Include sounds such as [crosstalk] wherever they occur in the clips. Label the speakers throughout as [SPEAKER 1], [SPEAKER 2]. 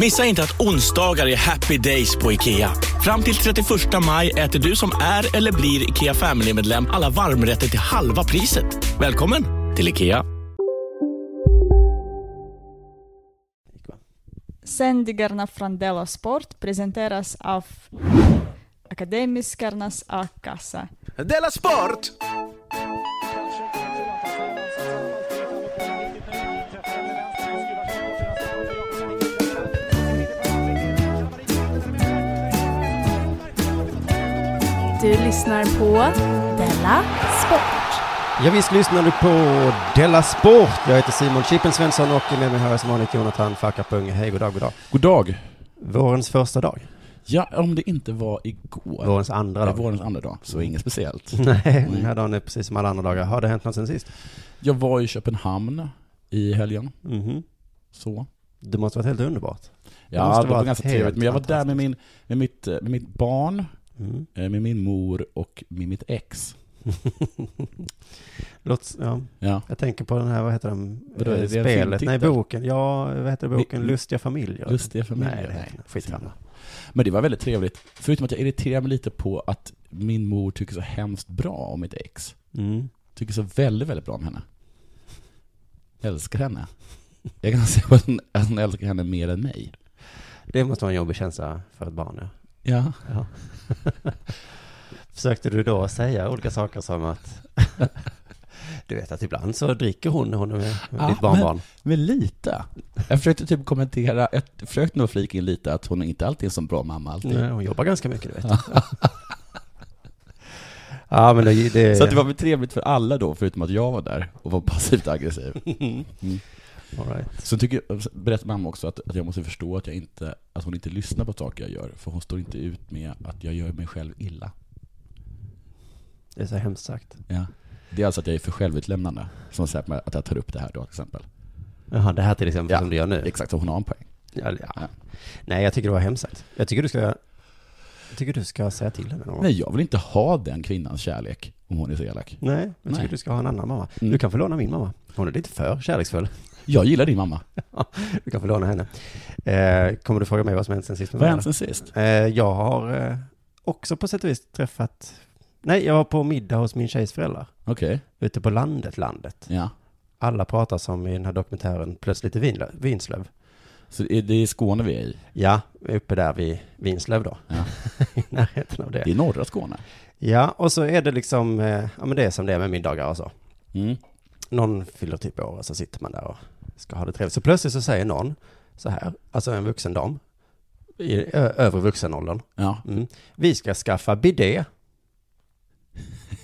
[SPEAKER 1] Missa inte att onsdagar är happy days på IKEA. Fram till 31 maj äter du som är eller blir IKEA Family-medlem alla varmrätter till halva priset. Välkommen till IKEA.
[SPEAKER 2] Sändningarna från Della Sport presenteras av Akademiskarnas A-kassa.
[SPEAKER 3] Della Sport!
[SPEAKER 4] Du lyssnar på Della Sport.
[SPEAKER 5] Ja, visst lyssnar du på Della Sport. Jag heter Simon Chippen Svensson och med mig här är som vanligt Jonathan Fackapung. Hej, god dag, god dag.
[SPEAKER 6] God dag.
[SPEAKER 5] Vårens första dag.
[SPEAKER 6] Ja, om det inte var igår.
[SPEAKER 5] Vårens andra dag.
[SPEAKER 6] Ja, vårens andra dag, så inget speciellt.
[SPEAKER 5] Nej, den här dagen är precis som alla andra dagar. Har det hänt något sen sist?
[SPEAKER 6] Jag var i Köpenhamn i helgen.
[SPEAKER 5] Mhm.
[SPEAKER 6] Så.
[SPEAKER 5] Det måste varit helt underbart.
[SPEAKER 6] Ja,
[SPEAKER 5] måste
[SPEAKER 6] det, var
[SPEAKER 5] varit
[SPEAKER 6] ganska
[SPEAKER 5] helt
[SPEAKER 6] trevligt. Men jag var där med,
[SPEAKER 5] fantastiskt.
[SPEAKER 6] min, med, mitt, eh, med mitt barn,
[SPEAKER 5] Mm.
[SPEAKER 6] eh, med min mor och med mitt ex.
[SPEAKER 5] [laughs] Låt, ja.
[SPEAKER 6] Ja.
[SPEAKER 5] Jag tänker på den här, vad heter den?
[SPEAKER 6] Vadå,
[SPEAKER 5] Eh,
[SPEAKER 6] är det en
[SPEAKER 5] Spelet? Nej,
[SPEAKER 6] filmtitel?
[SPEAKER 5] boken. Ja, vad heter boken?
[SPEAKER 6] Vi-
[SPEAKER 5] Lustiga familjer.
[SPEAKER 6] Lustiga familjer.
[SPEAKER 5] Nej, det
[SPEAKER 6] Nej,
[SPEAKER 5] heter den. skitsamma.
[SPEAKER 6] Men det var väldigt trevligt. Förutom att jag irriterar mig lite på att min mor tycker så hemskt bra om mitt ex.
[SPEAKER 5] Mm.
[SPEAKER 6] Tycker så väldigt, väldigt bra om henne. Älskar henne. Jag kan säga att hon, att hon älskar henne mer än mig.
[SPEAKER 5] Det måste vara en jobbig känsla för ett barn, ja.
[SPEAKER 6] Ja.
[SPEAKER 5] ja. Försökte du då säga olika saker som att du vet att ibland så dricker hon när hon är med med
[SPEAKER 6] Ja,
[SPEAKER 5] ditt barnbarn.
[SPEAKER 6] Men, men lite. Jag försökte typ kommentera, jag försökte nog flika in lite att hon inte alltid är en sån bra mamma alltid.
[SPEAKER 5] Nej, hon jobbar ganska mycket, du
[SPEAKER 6] [laughs]
[SPEAKER 5] vet. ja, men det, det,
[SPEAKER 6] Så att det var väl trevligt för alla då, förutom att jag var där och var passivt aggressiv.
[SPEAKER 5] [laughs] Mm. all right.
[SPEAKER 6] Så tycker, berättar mamma också att, att jag måste förstå att, jag inte, att hon inte lyssnar på saker jag gör, för hon står inte ut med att jag gör mig själv illa.
[SPEAKER 5] det är så hemskt sagt.
[SPEAKER 6] Ja. Det är alltså att jag är för självutlämnande, som säger att jag- att jag tar upp det här då till exempel.
[SPEAKER 5] Jaha, det här till exempel
[SPEAKER 6] Ja,
[SPEAKER 5] som du gör nu.
[SPEAKER 6] Exakt, så hon har en poäng.
[SPEAKER 5] Ja, ja. Nej, jag tycker det var hemskt sagt. Jag tycker du ska, jag tycker du ska säga till henne någon gång.
[SPEAKER 6] Nej, jag vill inte ha den kvinnans kärlek, om hon är så elak.
[SPEAKER 5] Nej, jag tycker
[SPEAKER 6] Nej.
[SPEAKER 5] du ska ha en annan mamma.
[SPEAKER 6] Mm.
[SPEAKER 5] Du kan få låna min mamma. Hon är lite för kärleksfull.
[SPEAKER 6] Jag gillar din mamma.
[SPEAKER 5] Du kan få låna henne. Eh, kommer du fråga mig vad som hänt sen sist? med
[SPEAKER 6] Vad har
[SPEAKER 5] mig,
[SPEAKER 6] hänt sen sist?
[SPEAKER 5] eller? Eh, jag har eh, också på sätt och vis träffat... Nej, jag var på middag hos min tjejs föräldrar.
[SPEAKER 6] Okej,
[SPEAKER 5] Ute på landet, landet.
[SPEAKER 6] ja.
[SPEAKER 5] Alla pratar som i den här dokumentären Plötsligt i Vinlö- Vinslöv.
[SPEAKER 6] Så det är- det är Skåne vi är i.
[SPEAKER 5] Ja, uppe där vid Vinslöv då.
[SPEAKER 6] Ja.
[SPEAKER 5] I närheten av
[SPEAKER 6] Det
[SPEAKER 5] det.
[SPEAKER 6] är norra Skåne.
[SPEAKER 5] Ja, och så är det liksom... Eh, ja, men det är som det är med middagar och så.
[SPEAKER 6] Mm.
[SPEAKER 5] någon fyller typ år och så sitter man där och ska ha det trevligt. Så plötsligt så säger någon så här, alltså en vuxen dam, i ö- övre vuxenåldern,
[SPEAKER 6] Ja.
[SPEAKER 5] mm, vi ska skaffa bidé,
[SPEAKER 6] [laughs]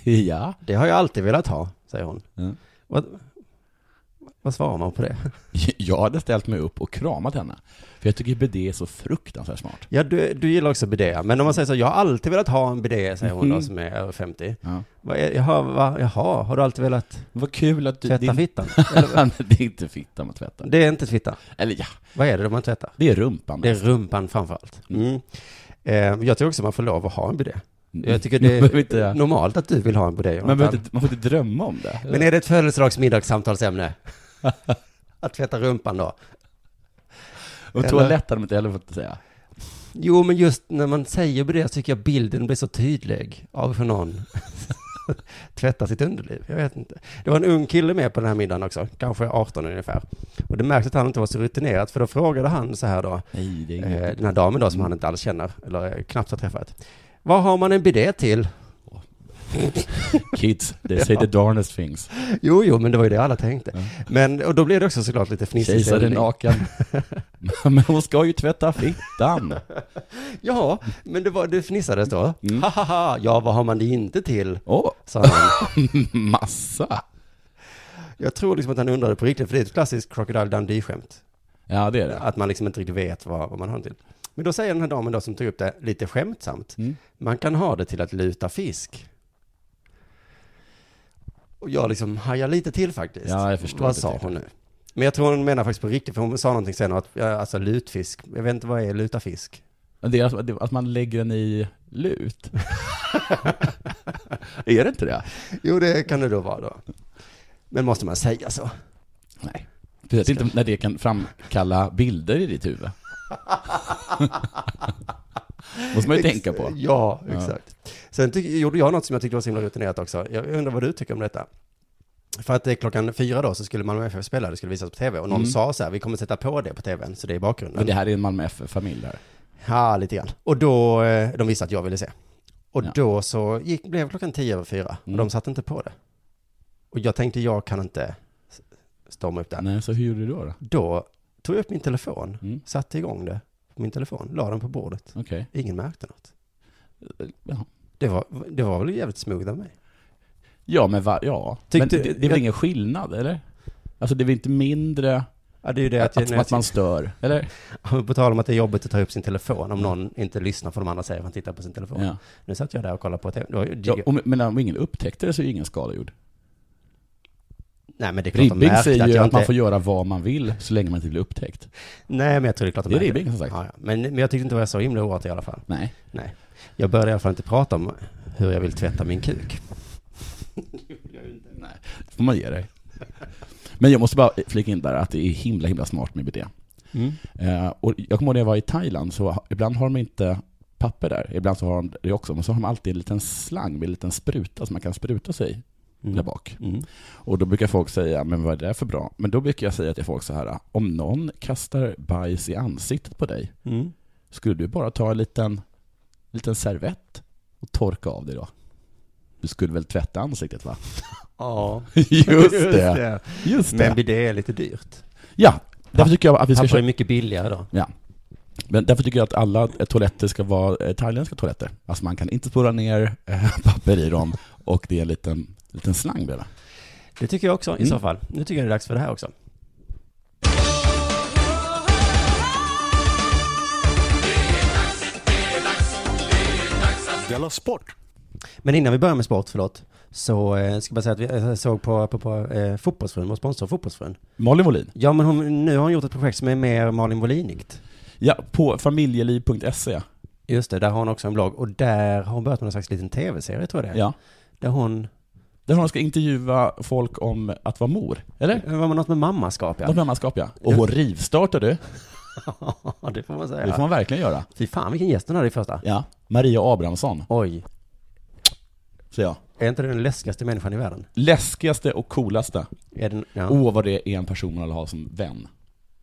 [SPEAKER 6] ja.
[SPEAKER 5] det har jag alltid velat ha, säger hon.
[SPEAKER 6] Mm.
[SPEAKER 5] Vad, vad svarar man på det?
[SPEAKER 6] [laughs] Jag hade ställt mig upp och kramat henne. För jag tycker bidé är så fruktansvärt smart.
[SPEAKER 5] Ja, du, du gillar också bidé, men om man säger så, jag har alltid velat ha en bidé, säger hon då som är över 50.
[SPEAKER 6] Ja.
[SPEAKER 5] Vad är, jaha, va, jaha, har du alltid velat
[SPEAKER 6] Vad kul att du...
[SPEAKER 5] tvätta
[SPEAKER 6] din...
[SPEAKER 5] fittan? Eller, vad?
[SPEAKER 6] det är inte fittan man tvättar.
[SPEAKER 5] det är inte fitta.
[SPEAKER 6] Eller ja,
[SPEAKER 5] Vad är det man tvättar?
[SPEAKER 6] det är rumpan.
[SPEAKER 5] Det är rumpan framförallt. Mm. Eh, jag tycker också man får lov att ha en bidé.
[SPEAKER 6] Mm.
[SPEAKER 5] Jag tycker det
[SPEAKER 6] Man behöver inte-
[SPEAKER 5] är normalt att du vill ha en bidé.
[SPEAKER 6] man,
[SPEAKER 5] Jonathan.
[SPEAKER 6] behöver inte, man får inte drömma om det.
[SPEAKER 5] Men är det ett födelsedagsmiddagssamtalsämne? att tvätta rumpan då?
[SPEAKER 6] och toalett hade man inte heller fått säga.
[SPEAKER 5] Jo, men just när man säger bidé så tycker jag bilden blir så tydlig av hur någon tvättar sitt underliv. Jag vet inte. Det var en ung kille med på den här middagen också, kanske 18 ungefär. Och det märktes att han inte var så rutinerad, för då frågade han så här då,
[SPEAKER 6] Nej, det är inget.
[SPEAKER 5] eh, den här damen då som han inte alls känner, eller eh, knappt har träffat. Vad har man en bidé till?
[SPEAKER 6] [laughs] Kids, they say the darnest things.
[SPEAKER 5] Jo, jo, men det var ju det alla tänkte. Men, och då blev det också såklart lite fnissig
[SPEAKER 6] Kejsaren
[SPEAKER 5] stämning. [laughs]
[SPEAKER 6] naken. Men hon ska ju tvätta fittan.
[SPEAKER 5] Ja, men det, var, det fnissades då.
[SPEAKER 6] Mm.
[SPEAKER 5] Ha, ha, ha, ja, vad har man det inte till?
[SPEAKER 6] Oh.
[SPEAKER 5] Sa han.
[SPEAKER 6] Massa.
[SPEAKER 5] Jag tror liksom att han undrade på riktigt, för det är ett klassiskt Crocodile Dundee-skämt.
[SPEAKER 6] Ja, det är det.
[SPEAKER 5] Att man liksom inte riktigt vet vad, vad man har det till. Men då säger den här damen då som tog upp det lite skämtsamt. Man kan ha det till att luta fisk. Och jag liksom hajar lite till faktiskt.
[SPEAKER 6] Ja, jag förstår
[SPEAKER 5] Vad
[SPEAKER 6] det
[SPEAKER 5] sa
[SPEAKER 6] till.
[SPEAKER 5] hon nu? Men jag tror hon menar faktiskt på riktigt, för hon sa någonting sen att, ja, alltså lutfisk, jag vet inte vad är luta fisk?
[SPEAKER 6] Men Det är att, det är att man lägger den i lut. är det inte det?
[SPEAKER 5] Jo, det kan det då vara då. Men måste man säga så?
[SPEAKER 6] Nej. Precis, inte när det kan framkalla bilder i ditt huvud. måste man ju
[SPEAKER 5] Ex-
[SPEAKER 6] tänka på.
[SPEAKER 5] Ja, exakt. Sen tyck- gjorde jag något som jag tyckte var så himla rutinerat också. Jag undrar vad du tycker om detta. För att det är klockan fyra då så skulle Malmö FF spela, det skulle visas på tv. Och någon
[SPEAKER 6] Mm.
[SPEAKER 5] sa så här, vi kommer sätta på det på tvn, så det är i bakgrunden.
[SPEAKER 6] Men det här är en Malmö FF-familj där.
[SPEAKER 5] Ja, lite grann. Och då, eh, de visste att jag ville se. Och
[SPEAKER 6] Ja.
[SPEAKER 5] då så gick, blev klockan tio över fyra, och
[SPEAKER 6] Mm.
[SPEAKER 5] de satte inte på det. Och jag tänkte, jag kan inte s- storma upp det här.
[SPEAKER 6] Nej, så hur gjorde du då? då?
[SPEAKER 5] Då tog jag upp min telefon,
[SPEAKER 6] Mm.
[SPEAKER 5] satte igång det på min telefon, la den på bordet.
[SPEAKER 6] Okej.
[SPEAKER 5] Ingen märkte något.
[SPEAKER 6] Ja.
[SPEAKER 5] Det var, det var väl jävligt smooth av mig.
[SPEAKER 6] Ja, men, va, ja. men
[SPEAKER 5] Tyckte-
[SPEAKER 6] det, det är väl
[SPEAKER 5] jag-
[SPEAKER 6] ingen skillnad, eller? Alltså det är väl inte mindre
[SPEAKER 5] Ja, det är ju det att,
[SPEAKER 6] att, att man stör, eller?
[SPEAKER 5] På tal om att det är jobbigt att ta upp sin telefon om någon inte lyssnar för de andra säger att man tittar på sin telefon.
[SPEAKER 6] Ja.
[SPEAKER 5] Nu satt jag där och kollade på TV. Det var ju,
[SPEAKER 6] Ja, om, men om ingen upptäckte det så är ju ingen skada gjord.
[SPEAKER 5] nej men det är klart de
[SPEAKER 6] Ribbing
[SPEAKER 5] märkte
[SPEAKER 6] säger
[SPEAKER 5] att
[SPEAKER 6] ju
[SPEAKER 5] jag
[SPEAKER 6] att man
[SPEAKER 5] inte...
[SPEAKER 6] får göra vad man vill så länge man inte blir upptäckt.
[SPEAKER 5] Nej men jag tror det är klart de
[SPEAKER 6] Det är
[SPEAKER 5] märkte
[SPEAKER 6] ribbing, som sagt.
[SPEAKER 5] Ja, ja. Men, men jag tyckte inte det var så himla oartigt i alla fall.
[SPEAKER 6] Nej.
[SPEAKER 5] Nej. Jag började i alla fall inte prata om hur jag vill tvätta min kuk.
[SPEAKER 6] Det får man ge dig. Men jag måste bara flika in där att det är himla, himla smart med det.
[SPEAKER 5] Mm.
[SPEAKER 6] Eh, och jag kommer ihåg när jag var i Thailand, så ibland har de inte papper där, ibland så har de det också, men så har de alltid en liten slang med en liten spruta som man kan spruta sig där bak.
[SPEAKER 5] Mm.
[SPEAKER 6] Och då brukar folk säga, men vad är det där för bra? Men då brukar jag säga till folk så här, om någon kastar bajs i ansiktet på dig,
[SPEAKER 5] Mm.
[SPEAKER 6] skulle du bara ta en liten, liten servett och torka av dig då? Du skulle väl tvätta ansiktet va?
[SPEAKER 5] [laughs] Ja,
[SPEAKER 6] [laughs] Just det! Just det!
[SPEAKER 5] Men det är lite dyrt.
[SPEAKER 6] Ja, därför tycker jag att vi ska
[SPEAKER 5] Papper är
[SPEAKER 6] köpa...
[SPEAKER 5] mycket billigare då.
[SPEAKER 6] Ja. Men därför tycker jag att alla eh, toaletter ska vara eh, thailändska toaletter. Alltså man kan inte spåra ner eh, papper i dem och det är en liten, liten slang där.
[SPEAKER 5] Det tycker jag också i så fall. Nu tycker jag det är dags för det här också.
[SPEAKER 7] Della Sport!
[SPEAKER 5] Men innan vi börjar med sport, förlåt, så eh, ska jag bara säga att vi eh, såg på, på, på eh, Fotbollsfrun, vår sponsor Fotbollsfrun.
[SPEAKER 6] Malin Molin.
[SPEAKER 5] Ja, men hon, nu har hon gjort ett projekt som är mer Malin Wolinigt.
[SPEAKER 6] Ja, på familjeliv.se.
[SPEAKER 5] Just det, där har hon också en blogg. Och där har hon börjat med någon slags liten tv-serie, tror jag det är.
[SPEAKER 6] Ja.
[SPEAKER 5] Där hon...
[SPEAKER 6] Där hon ska intervjua folk om att vara mor. Eller?
[SPEAKER 5] Det var något med mammaskap,
[SPEAKER 6] Något
[SPEAKER 5] ja.
[SPEAKER 6] mammaskap ja. Och hon rivstartar du.
[SPEAKER 5] [laughs] Ja, det får man säga.
[SPEAKER 6] Det får man verkligen göra.
[SPEAKER 5] Fy fan, vilken gäst hon hade i första.
[SPEAKER 6] Ja. Maria Abrahamsson,
[SPEAKER 5] Oj,
[SPEAKER 6] säger jag.
[SPEAKER 5] är inte det den läskigaste människan i världen?
[SPEAKER 6] Läskigaste och coolaste.
[SPEAKER 5] Är den... Ja.
[SPEAKER 6] Åh, vad det är en person att ha som vän.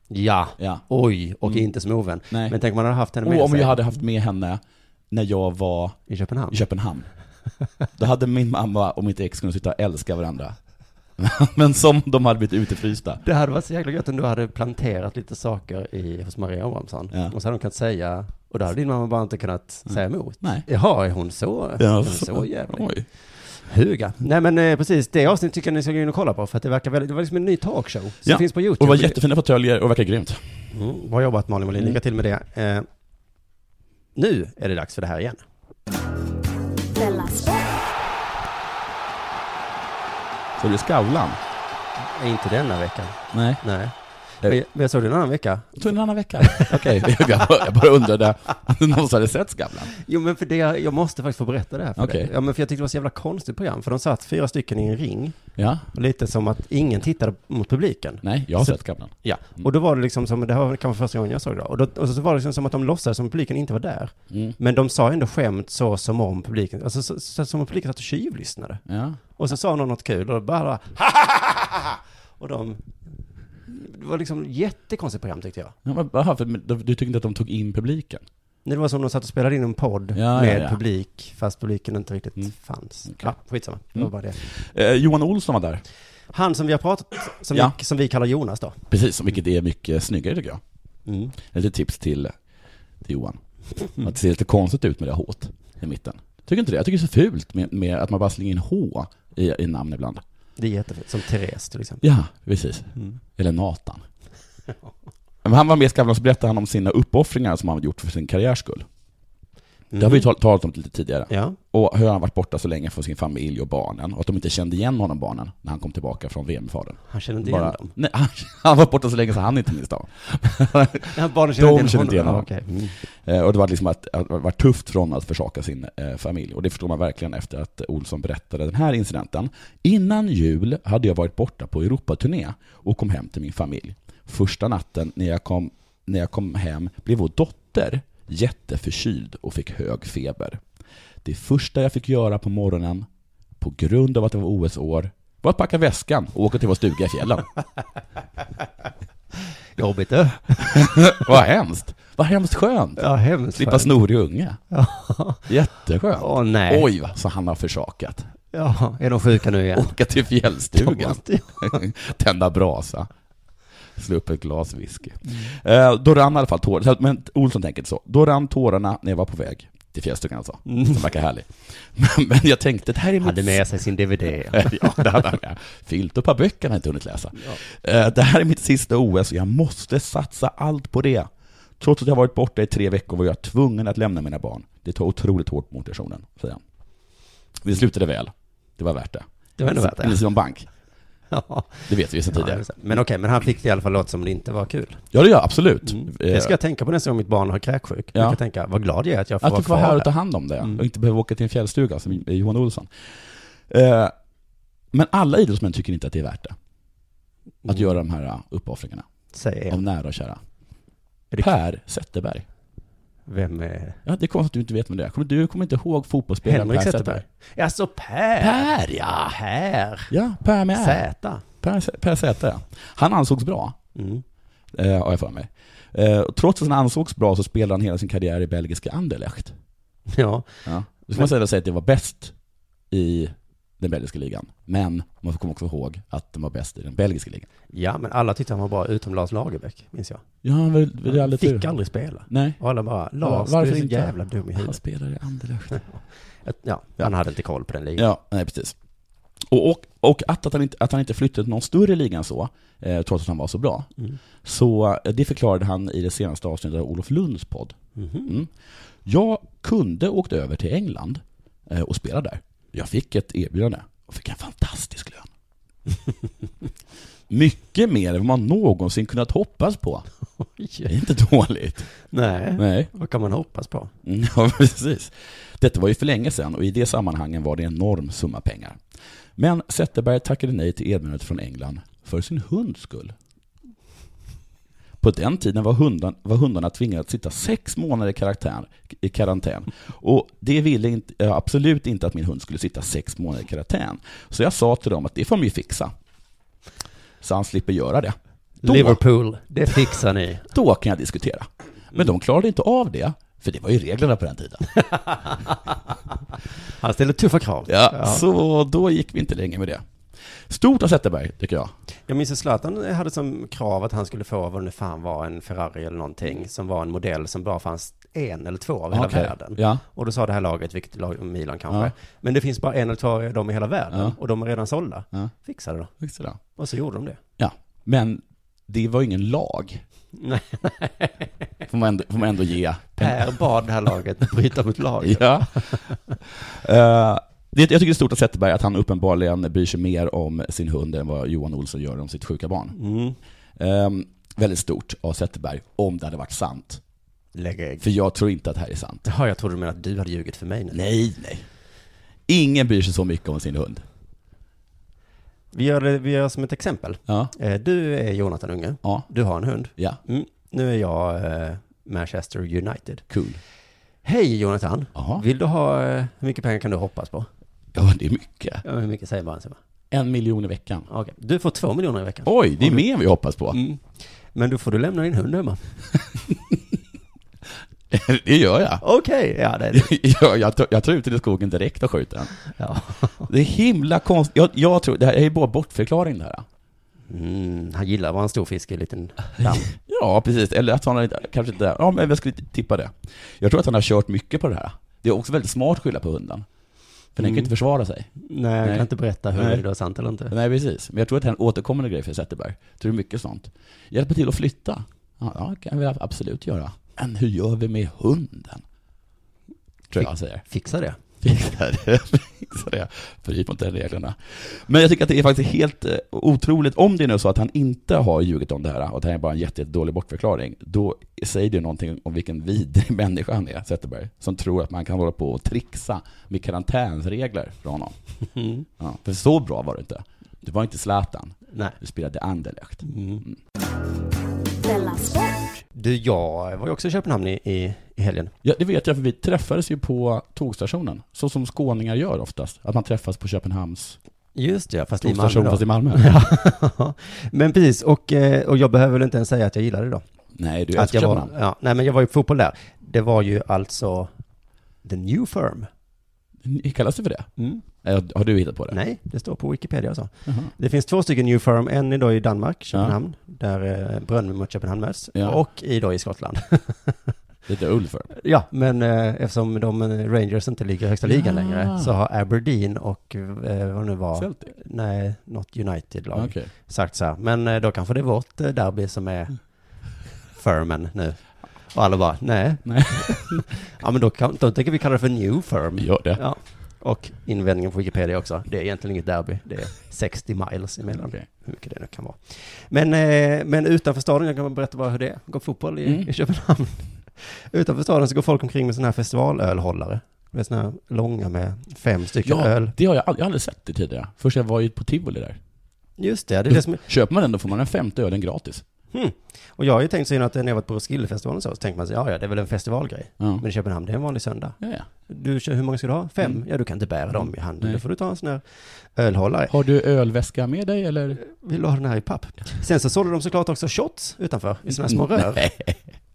[SPEAKER 5] ja.
[SPEAKER 6] Ja. Mm.
[SPEAKER 5] Oj, och inte som ovän.
[SPEAKER 6] Nej.
[SPEAKER 5] Men tänk om man hade haft henne med
[SPEAKER 6] Och om
[SPEAKER 5] sig
[SPEAKER 6] jag hade haft med henne när jag var
[SPEAKER 5] i Köpenhamn. [laughs]
[SPEAKER 6] i Köpenhamn. Då hade min mamma och mitt ex kunnat sitta och älska varandra. [laughs] Men som de hade blivit utefrysta.
[SPEAKER 5] Det hade varit så jäkla gött om du hade planterat lite saker i, hos Maria Abrahamsson.
[SPEAKER 6] Ja. Mm.
[SPEAKER 5] Och så hade hon kunnat säga, och då hade din mamma bara inte kunnat säga emot.
[SPEAKER 6] Nej.
[SPEAKER 5] Jaha, är hon så, är hon så jävlig?
[SPEAKER 6] Oj.
[SPEAKER 5] Huga. Nej men eh, precis, det avsnittet tycker jag ni ska gå in och kolla på för att det verkar väldigt, det var liksom en ny talkshow som
[SPEAKER 6] Ja,
[SPEAKER 5] finns på
[SPEAKER 6] Och
[SPEAKER 5] YouTube.
[SPEAKER 6] var jättefina fåtöljer och verkar grymt.
[SPEAKER 5] Mm, bra jobbat Malin Molin, lycka till med det. Eh, nu är det dags för det här igen.
[SPEAKER 4] Della Sport.
[SPEAKER 6] Så det är Skavlan.
[SPEAKER 5] Eh, Inte denna veckan,
[SPEAKER 6] Nej. Eh.
[SPEAKER 5] nej. Men jag- men jag såg det en annan vecka.
[SPEAKER 6] Jag tog en annan vecka. [laughs] Okej, jag bara- jag bara undrade om någon hade sett Skavlan.
[SPEAKER 5] Jo men för det, jag måste faktiskt få berätta det här för
[SPEAKER 6] Okej.
[SPEAKER 5] dig. Ja men för jag tyckte det var så jävla konstigt program, för de satt fyra stycken i en ring.
[SPEAKER 6] Ja.
[SPEAKER 5] Och Lite som att ingen tittade mot publiken.
[SPEAKER 6] Nej, jag har
[SPEAKER 5] Så-
[SPEAKER 6] sett Mm. Skavlan.
[SPEAKER 5] Ja, och då var det liksom som, det här var kanske första gången jag såg det. Och, då, och så var det liksom som att de låtsades som publiken inte var där.
[SPEAKER 6] Mm.
[SPEAKER 5] Men de sa ändå skämt så som om publiken, alltså så, så, som om publiken satt och tjuvlyssnade.
[SPEAKER 6] Ja.
[SPEAKER 5] Och så sa någon något kul och bara Och de... Det var liksom jättekonstigt program tyckte jag.
[SPEAKER 6] Ja, men, aha, för, men, du tyckte inte att de tog in publiken?
[SPEAKER 5] Det var som de satt och spelade in en podd
[SPEAKER 6] Ja,
[SPEAKER 5] med
[SPEAKER 6] ja, ja.
[SPEAKER 5] publik, fast publiken inte riktigt fanns. Ja, skitsamma. Det var
[SPEAKER 6] Mm.
[SPEAKER 5] bara det.
[SPEAKER 6] Eh, Johan Olsson var där.
[SPEAKER 5] Han som vi har pratat, som,
[SPEAKER 6] Ja.
[SPEAKER 5] vi, som vi kallar Jonas då.
[SPEAKER 6] Precis, vilket är mycket snyggare tycker jag.
[SPEAKER 5] Mm.
[SPEAKER 6] Ett litet tips till, till Johan.
[SPEAKER 5] Mm.
[SPEAKER 6] Att det ser lite konstigt ut med det här H't i mitten. Tycker inte det? Jag tycker det är så fult med, med att man bara slänger in H i, i namn ibland.
[SPEAKER 5] Det är jättefint. Som Therese till exempel.
[SPEAKER 6] Ja, precis.
[SPEAKER 5] Mm. [laughs]
[SPEAKER 6] Eller Nathan. Men han var med i Skavlan och så berättade han om sina uppoffringar som han hade gjort för sin karriärs skull. Det har vi ju tal- talat om lite tidigare.
[SPEAKER 5] Mm. Ja.
[SPEAKER 6] Och hur han varit borta så länge från sin familj och barnen. Och att de inte kände igen honom, barnen, när han kom tillbaka från VM-fadern.
[SPEAKER 5] Han kände inte igen dem.
[SPEAKER 6] Nej, han, [laughs] han var borta så länge så han inte minns dem.
[SPEAKER 5] [laughs] Ja, barnen kände inte igen honom.
[SPEAKER 6] honom.
[SPEAKER 5] Ja, okej.
[SPEAKER 6] Eh, Och det var liksom att, att det var tufft för honom att försaka sin eh, familj. Och det förstår man verkligen efter att Olsson berättade den här incidenten. Innan jul hade jag varit borta på Europaturné och kom hem till min familj. Första natten när jag kom, när jag kom hem blev vår dotter jätteförkyld och fick hög feber. Det första jag fick göra på morgonen, på grund av att det var OS-år, var att packa väskan och åka till vår stuga i fjällen.
[SPEAKER 5] Jobbigt du.
[SPEAKER 6] Vad hemskt. Vad hemskt skönt.
[SPEAKER 5] Ja, hemskt
[SPEAKER 6] Slippa
[SPEAKER 5] skönt.
[SPEAKER 6] snorig unge. Jätteskönt.
[SPEAKER 5] Åh, nej.
[SPEAKER 6] Oj, vad så han har försakat.
[SPEAKER 5] Ja, är de sjuka nu igen?
[SPEAKER 6] Åka till
[SPEAKER 5] De
[SPEAKER 6] fjällstugan.
[SPEAKER 5] måste-
[SPEAKER 6] Tända brasa. Slå upp ett glas whisky. Eh, då rann i alla fall tårarna. Så att- Men Olsson tänker inte så. Då rann tårarna när jag var på väg till fjällstugan alltså. Som verkar härlig. Men, men jag tänkte, det här är
[SPEAKER 5] Hade
[SPEAKER 6] mitt
[SPEAKER 5] med sig sin DVD.
[SPEAKER 6] [laughs] ja, det hade han med. Fyllt upp av böcker han inte hunnit läsa. Eh, Det här är mitt sista OS och jag måste satsa allt på det. Trots att jag varit borta i tre veckor var jag tvungen att lämna mina barn. Det tar otroligt hårt mot personen, säger han. Det slutade väl. Det var värt det.
[SPEAKER 5] Det var ändå värt det.
[SPEAKER 6] Eller Simon Bank.
[SPEAKER 5] Ja.
[SPEAKER 6] Det vet vi ju sedan
[SPEAKER 5] Ja, det
[SPEAKER 6] tidigare.
[SPEAKER 5] är sant. men okej, men han fick det i alla fall låta som det inte var kul. Mm.
[SPEAKER 6] Ja, det gör jag absolut. Eh,
[SPEAKER 5] Det ska jag tänka på nästa gång mitt barn har kräksjuk.
[SPEAKER 6] Ja.
[SPEAKER 5] Jag kan tänka, vad glad jag är att jag får
[SPEAKER 6] Att du får vara
[SPEAKER 5] kvar
[SPEAKER 6] här och ta hand om det
[SPEAKER 5] Mm.
[SPEAKER 6] och inte behöva åka till en fjällstuga som Johan Olsson. Eh, Men alla idrottsmän tycker inte att det är värt det. Att göra de här eh, uppoffringarna.
[SPEAKER 5] Mm. Säger
[SPEAKER 6] Av
[SPEAKER 5] en.
[SPEAKER 6] nära och kära.
[SPEAKER 5] Rikt-
[SPEAKER 6] Per Zetterberg.
[SPEAKER 5] Vem är...
[SPEAKER 6] Ja, det är konstigt att du inte vet vem det är. Kommer- Du kommer inte ihåg fotbollsspelaren
[SPEAKER 5] Henrik Zetterberg? Alltså Per!
[SPEAKER 6] Per, ja.
[SPEAKER 5] Per!
[SPEAKER 6] Ja, Per med Ä.
[SPEAKER 5] Zäta.
[SPEAKER 6] Per, Z- per Säter, ja. Han ansågs bra,
[SPEAKER 5] Mm.
[SPEAKER 6] eh, har jag för mig. Eh, och trots att han ansågs bra så spelade han hela sin karriär i belgiska Anderlecht.
[SPEAKER 5] Ja.
[SPEAKER 6] Ja. Då ska
[SPEAKER 5] Men-
[SPEAKER 6] man säga säga att det var bäst i den belgiska ligan. Men man kommer också ihåg att den var bäst i den belgiska ligan.
[SPEAKER 5] ja, men alla tyckte han var bra utom Lars Lagerbäck, minns jag.
[SPEAKER 6] Ja, han var- var det
[SPEAKER 5] Han
[SPEAKER 6] aldrig
[SPEAKER 5] fick
[SPEAKER 6] tur.
[SPEAKER 5] aldrig spela.
[SPEAKER 6] Nej.
[SPEAKER 5] Och alla bara, Lars,
[SPEAKER 6] Varför
[SPEAKER 5] du är så
[SPEAKER 6] inte?
[SPEAKER 5] jävla dum i
[SPEAKER 6] Han
[SPEAKER 5] huvudet.
[SPEAKER 6] spelade i Anderlecht.
[SPEAKER 5] [laughs] Ja,
[SPEAKER 6] Ja.
[SPEAKER 5] han hade inte koll på den ligan.
[SPEAKER 6] Ja, nej precis. Och, och, och att, att, han inte, att han inte flyttade till någon större liga än så, eh, trots att han var så bra.
[SPEAKER 5] Mm.
[SPEAKER 6] Så eh, det förklarade han i det senaste avsnittet av Olof Lunds podd.
[SPEAKER 5] Mhm.
[SPEAKER 6] Mm. Jag kunde åkt över till England eh, och spela där. Jag fick ett erbjudande och fick en fantastisk
[SPEAKER 5] [laughs]
[SPEAKER 6] lön. Mycket mer än vad man någonsin kunnat hoppas på. Det är inte dåligt.
[SPEAKER 5] Nej.
[SPEAKER 6] Nej.
[SPEAKER 5] Vad kan man hoppas på?
[SPEAKER 6] Mm, [laughs] Ja, precis. Detta var ju för länge sedan och i det sammanhangen var det en enorm summa pengar. Men Zetterberg tackade nej till erbjudandet från England för sin hunds skull. På den tiden var, hundan, var hundarna tvingade att sitta sex månader i, karaktär, i karantän. Och det ville inte, jag absolut inte att min hund skulle sitta sex månader i karantän. Så jag sa till dem att det får de ju fixa. Så han slipper göra det. Då-
[SPEAKER 5] Liverpool, det fixar ni.
[SPEAKER 6] då kan jag diskutera. Men de klarade inte av det, för det var ju reglerna på den tiden.
[SPEAKER 5] [laughs] Han ställer tuffa krav.
[SPEAKER 6] Ja, Så då gick vi inte längre med det. Stort av Zetterberg, tycker jag.
[SPEAKER 5] Jag minns att Zlatan hade som krav att han skulle få vad det nu fan var, en Ferrari eller någonting, som var en modell som bara fanns en eller två av hela
[SPEAKER 6] Okej,
[SPEAKER 5] världen.
[SPEAKER 6] ja.
[SPEAKER 5] Och då sa det här laget, vilket lag, Milan kanske,
[SPEAKER 6] Ja.
[SPEAKER 5] men det finns bara en eller två av dem i hela världen
[SPEAKER 6] Ja.
[SPEAKER 5] och de är redan sålda.
[SPEAKER 6] Ja.
[SPEAKER 5] Fixa det då.
[SPEAKER 6] Sådär.
[SPEAKER 5] Och så gjorde de det.
[SPEAKER 6] Ja, men det var ju ingen lag.
[SPEAKER 5] Nej.
[SPEAKER 6] Får man ändå, får man ändå ge.
[SPEAKER 5] Per bad det här laget bryta mot laget.
[SPEAKER 6] Ja. [laughs] Eh, det, jag tycker det är stort av Zetterberg att han uppenbarligen bryr sig mer om sin hund än vad Johan Olsson gör om sitt sjuka barn.
[SPEAKER 5] Mm.
[SPEAKER 6] Ehm, väldigt stort av Zetterberg, om det hade varit sant.
[SPEAKER 5] Lägg ägg.
[SPEAKER 6] För jag tror inte att det här är sant.
[SPEAKER 5] Jaha, jag trodde du menade att du hade ljugit för mig nu.
[SPEAKER 6] Nej, nej. Ingen bryr sig så mycket om sin hund.
[SPEAKER 5] Vi gör, det, vi gör som ett exempel.
[SPEAKER 6] Ja.
[SPEAKER 5] Eh, Du är Jonathan Unge.
[SPEAKER 6] Ja.
[SPEAKER 5] Du har en hund.
[SPEAKER 6] Ja.
[SPEAKER 5] Mm. Nu är jag eh, Manchester United.
[SPEAKER 6] Cool.
[SPEAKER 5] Hej Jonathan.
[SPEAKER 6] Jaha.
[SPEAKER 5] Vill du ha, eh, hur mycket pengar kan du hoppas på?
[SPEAKER 6] Ja, det är mycket.
[SPEAKER 5] Ja, hur mycket säger man? säger man.
[SPEAKER 6] En miljon i veckan.
[SPEAKER 5] Okej, du får två miljoner i veckan.
[SPEAKER 6] Oj, det är mer än vi hoppas på.
[SPEAKER 5] Mm. Men då får du lämna din hund hemma.
[SPEAKER 6] det gör jag.
[SPEAKER 8] Okej, ja det är det.
[SPEAKER 6] [laughs] jag, jag, tar- jag tar ut den i skogen direkt och skjuter den. Det är himla konstigt. Jag, jag tror, det här är ju bara bortförklaring det här.
[SPEAKER 8] Mm, han gillar att vara en stor fisk i en liten damm.
[SPEAKER 6] [laughs] Ja, precis. Eller att han har, inte- kanske inte, ja men jag skulle tippa det. Jag tror att han har kört mycket på det här. Det är också väldigt smart att skylla på hunden. För den kan
[SPEAKER 8] Mm.
[SPEAKER 6] ju inte försvara sig.
[SPEAKER 8] Nej, jag kan inte berätta hur
[SPEAKER 6] Nej.
[SPEAKER 8] det är sant eller inte.
[SPEAKER 6] Nej, precis. Men jag tror att det är en återkommande grej för Zetterberg. Jag tror det är mycket sånt. Hjälpa till att flytta. Ja, ja, det kan vi absolut göra. Men hur gör vi med hunden? Tror jag han säger.
[SPEAKER 8] Fixa det.
[SPEAKER 6] Fixa det, [laughs] fixa det. Bryt mot de reglerna. Men jag tycker att det är faktiskt helt eh, otroligt, om det är nu så att han inte har ljugit om det här och att det här är bara en jätte, jätte dålig bortförklaring, då säger det någonting om vilken vidrig människa han är, Zetterberg, som tror att man kan hålla på och trixa med karantänsregler för honom.
[SPEAKER 8] Mm.
[SPEAKER 6] Ja, för så bra var du inte. Du var inte Zlatan,
[SPEAKER 8] Nej.
[SPEAKER 6] du spelade Anderlecht.
[SPEAKER 8] Mm.
[SPEAKER 5] Della Sport.
[SPEAKER 8] Du, jag var ju också i Köpenhamn i, i, i helgen.
[SPEAKER 6] Ja, det vet jag, för vi träffades ju på tågstationen, så som skåningar gör oftast, att man träffas på Köpenhamns
[SPEAKER 8] Just det, fast i Malmö.
[SPEAKER 6] tågstation,
[SPEAKER 8] då.
[SPEAKER 6] fast i Malmö.
[SPEAKER 8] Ja. men precis, och, eh, och jag behöver väl inte ens säga att jag gillade det då.
[SPEAKER 6] Nej, du
[SPEAKER 8] att jag
[SPEAKER 6] älskar
[SPEAKER 8] var,
[SPEAKER 6] Köpenhamn.
[SPEAKER 8] ja, Nej, men jag var ju på fotboll där. Det var ju alltså The New Firm.
[SPEAKER 6] Kallas det för det? Eh, Har du hittat på det?
[SPEAKER 8] Nej, det står på Wikipedia så.
[SPEAKER 6] Jaha.
[SPEAKER 8] Det finns två stycken New Firm, en är då i Danmark, Köpenhamn, där eh, Brönby mot Köpenhamn möts,
[SPEAKER 6] Ja.
[SPEAKER 8] och i då i Skottland.
[SPEAKER 6] Lite Ulfer.
[SPEAKER 8] ja, men eh, eftersom de eh, Rangers inte ligger i högsta ligan
[SPEAKER 6] Ja.
[SPEAKER 8] längre så har Aberdeen och eh, vad det nu var,
[SPEAKER 6] Celtic?
[SPEAKER 8] nej, något United-lag
[SPEAKER 6] Okej.
[SPEAKER 8] sagt så här, men eh, då kanske det är vårt eh, derby som är firmen nu. Och alla bara, nej.
[SPEAKER 6] Nej.
[SPEAKER 8] ja men då, kan, då tänker vi kalla det för new firm.
[SPEAKER 6] Gör det.
[SPEAKER 8] Ja. Och invändningen på Wikipedia också, det är egentligen inget derby, det är 60 miles emellan.
[SPEAKER 6] Okej.
[SPEAKER 8] Hur mycket det nu kan vara. Men, eh, men utanför staden, jag kan berätta bara hur det är, går fotboll i,
[SPEAKER 6] Mm.
[SPEAKER 8] i Köpenhamn. utanför staden så går folk omkring med sådana här festivalölhållare. Med sådana här långa med fem stycken
[SPEAKER 6] Ja,
[SPEAKER 8] öl.
[SPEAKER 6] det har jag, aldrig, jag har aldrig sett det tidigare. Först jag var ju på Tivoli där.
[SPEAKER 8] Just det, det är det som är
[SPEAKER 6] [laughs] Köper man den, då får man den femte ölen gratis.
[SPEAKER 8] Hmm. Och jag har ju tänkt så innan att när jag varit på Roskildefestivalen och så, så tänker man sig, ja ja, det är väl en festivalgrej.
[SPEAKER 6] Ja.
[SPEAKER 8] Men i Köpenhamn, det är en vanlig söndag.
[SPEAKER 6] Ja, ja.
[SPEAKER 8] Du, kör- hur många ska du ha? Fem?
[SPEAKER 6] Mm.
[SPEAKER 8] Ja, du kan inte bära dem i handen.
[SPEAKER 6] Nej.
[SPEAKER 8] Då får du ta en sån här ölhållare.
[SPEAKER 6] Har du ölväska med dig eller?
[SPEAKER 8] Vill du ha den här i papp? Sen så sålde de såklart också shots utanför, i såna här små rör.
[SPEAKER 6] Nej,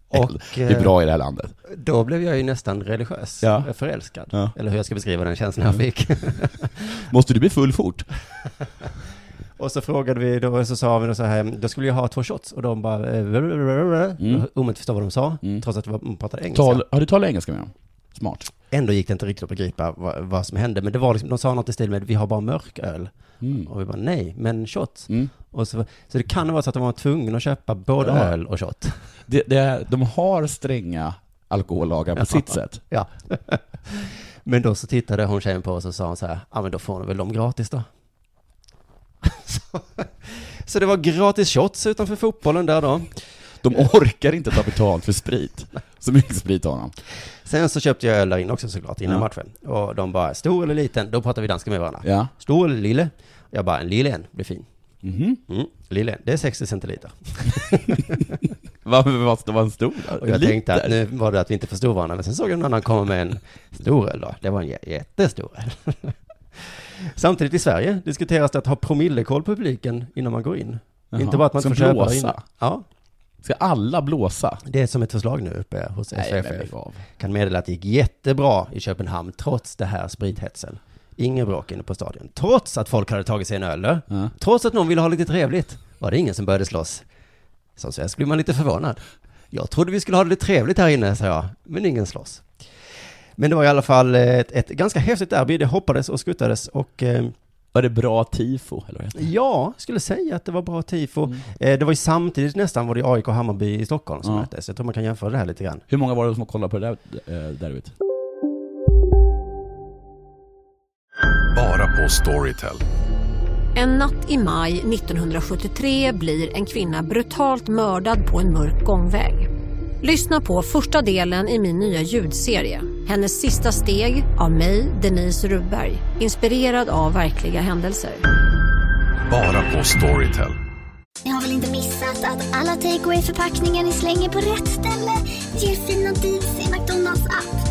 [SPEAKER 8] Och
[SPEAKER 6] det är
[SPEAKER 8] eh,
[SPEAKER 6] bra i det här landet.
[SPEAKER 8] då blev jag ju nästan religiös,
[SPEAKER 6] Ja.
[SPEAKER 8] eh, förälskad.
[SPEAKER 6] Ja.
[SPEAKER 8] Eller hur jag ska beskriva den känslan jag fick.
[SPEAKER 6] Måste du bli full fort?
[SPEAKER 8] och så frågade vi, då så sa vi då så här, då skulle jag ha två shots. Och de bara, mm. omöjligt förstå vad de sa,
[SPEAKER 6] Mm.
[SPEAKER 8] trots att de pratade engelska.
[SPEAKER 6] Tal, har du talat engelska med dem? Smart.
[SPEAKER 8] Ändå gick det inte riktigt att begripa vad, vad som hände. Men det var liksom, de sa något i stil med vi har bara mörk öl.
[SPEAKER 6] Mm.
[SPEAKER 8] Och vi bara nej, men shot.
[SPEAKER 6] Mm.
[SPEAKER 8] Och så, så det kan vara så att de var tvungna att köpa både
[SPEAKER 6] Ja.
[SPEAKER 8] öl och shot.
[SPEAKER 6] Det, det, de har stränga alkohollagar på sitt sätt.
[SPEAKER 8] Ja. men då så tittade hon tjejen på oss och sa hon så här, ja men då får ni väl dem gratis då. så, så det var gratis shots utanför fotbollen där då.
[SPEAKER 6] De orkar inte ta betalt för sprit. Så mycket sprit har de.
[SPEAKER 8] Sen så köpte jag öl där inne också såklart, innan
[SPEAKER 6] Ja.
[SPEAKER 8] matchen. Och de bara, stor eller liten, då pratar vi danska med varandra.
[SPEAKER 6] Ja.
[SPEAKER 8] Stor eller lille? Jag bara, en lille en blir fin.
[SPEAKER 6] Mhm.
[SPEAKER 8] Mm, lille en, det är 60 centiliter.
[SPEAKER 6] Varför var det var en stor?
[SPEAKER 8] Och jag
[SPEAKER 6] Liter.
[SPEAKER 8] tänkte att nu var det att vi inte förstod varandra, men sen såg jag någon annan komma med en stor öl då. Det var en jä- jättestor öl. Samtidigt i Sverige diskuteras det att ha promillekoll på publiken innan man går in.
[SPEAKER 6] Jaha.
[SPEAKER 8] Inte bara att man
[SPEAKER 6] Som
[SPEAKER 8] inte får köpa där
[SPEAKER 6] blåsa.
[SPEAKER 8] inne. Ja,
[SPEAKER 6] Ska alla blåsa?
[SPEAKER 8] det är som ett förslag nu uppe hos
[SPEAKER 6] Nej, men
[SPEAKER 8] SFF.
[SPEAKER 6] lägg av.
[SPEAKER 8] Kan meddela att det gick jättebra i Köpenhamn trots det här sprithetsen. Ingen bråk inne på stadion. Trots att folk hade tagit sig en öl, eller?
[SPEAKER 6] Ja.
[SPEAKER 8] trots att någon ville ha lite trevligt, var det ingen som började slåss. Som svensk blir man lite förvånad. Jag trodde vi skulle ha det lite trevligt här inne, sa jag, men ingen slåss. Men det var i alla fall ett, ett ganska häftigt derby, det hoppades och skuttades och eh,
[SPEAKER 6] Var det bra tifo? Eller vad heter det?
[SPEAKER 8] ja, skulle säga att det var bra tifo. Eh, det var ju samtidigt nästan var det AIK och Hammarby i Stockholm som
[SPEAKER 6] Ja.
[SPEAKER 8] möttes. Jag tror man kan jämföra det här lite grann.
[SPEAKER 6] Hur många var det som kollade på det där eh, derbyt?
[SPEAKER 9] Bara på Storytel.
[SPEAKER 10] En natt i maj 1973 blir en kvinna brutalt mördad på en mörk gångväg. Lyssna på första delen i min nya ljudserie. Hennes sista steg av mig, Denise Rubberg. Inspirerad av verkliga händelser.
[SPEAKER 9] Bara på Storytel.
[SPEAKER 5] Ni har väl inte missat att alla takeaway förpackningar ni slänger på rätt ställe ger fina deals i McDonalds app.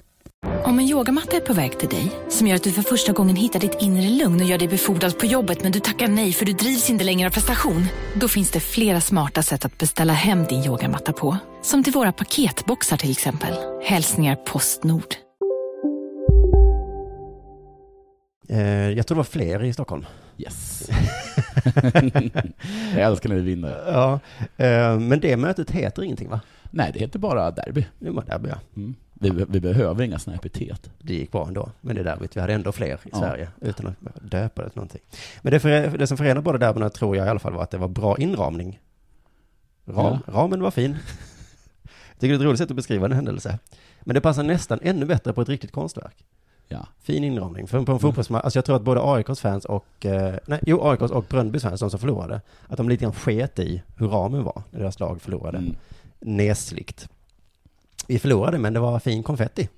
[SPEAKER 11] Om en yogamatta är på väg till dig, som gör att du för första gången hittar ditt inre lugn och gör dig befordrad på jobbet men du tackar nej för du drivs inte längre av prestation. Då finns det flera smarta sätt att beställa hem din yogamatta på. Som till våra paketboxar till exempel. Hälsningar Postnord.
[SPEAKER 5] Eh, jag tror det var fler i Stockholm.
[SPEAKER 6] Yes. [laughs] jag älskar när vi vinner.
[SPEAKER 5] Ja, eh, men det mötet heter ingenting va?
[SPEAKER 6] Nej, det heter bara derby.
[SPEAKER 5] Det var derby ja.
[SPEAKER 6] Mm. Vi, vi behöver inga sådana epitet.
[SPEAKER 5] Det gick bra ändå, men det derbyt, vi hade ändå fler i
[SPEAKER 6] Ja.
[SPEAKER 5] Sverige utan att behöva döpa det till någonting. Men det, för, det som förenade båda derbyna tror jag i alla fall var att det var bra inramning. Ram, Ramen var fin. Jag tycker det är ett roligt sätt att beskriva en händelse. Men det passar nästan ännu bättre på ett riktigt konstverk.
[SPEAKER 6] Ja.
[SPEAKER 5] Fin inramning. För på en fotbollsmatch, alltså jag tror att både AIKs fans och, eh, nej, jo, AIKs och Brönnbys fans, de som förlorade, att de lite grann sket i hur ramen var när deras lag förlorade. Nesligt. Vi förlorade, men det var fin konfetti.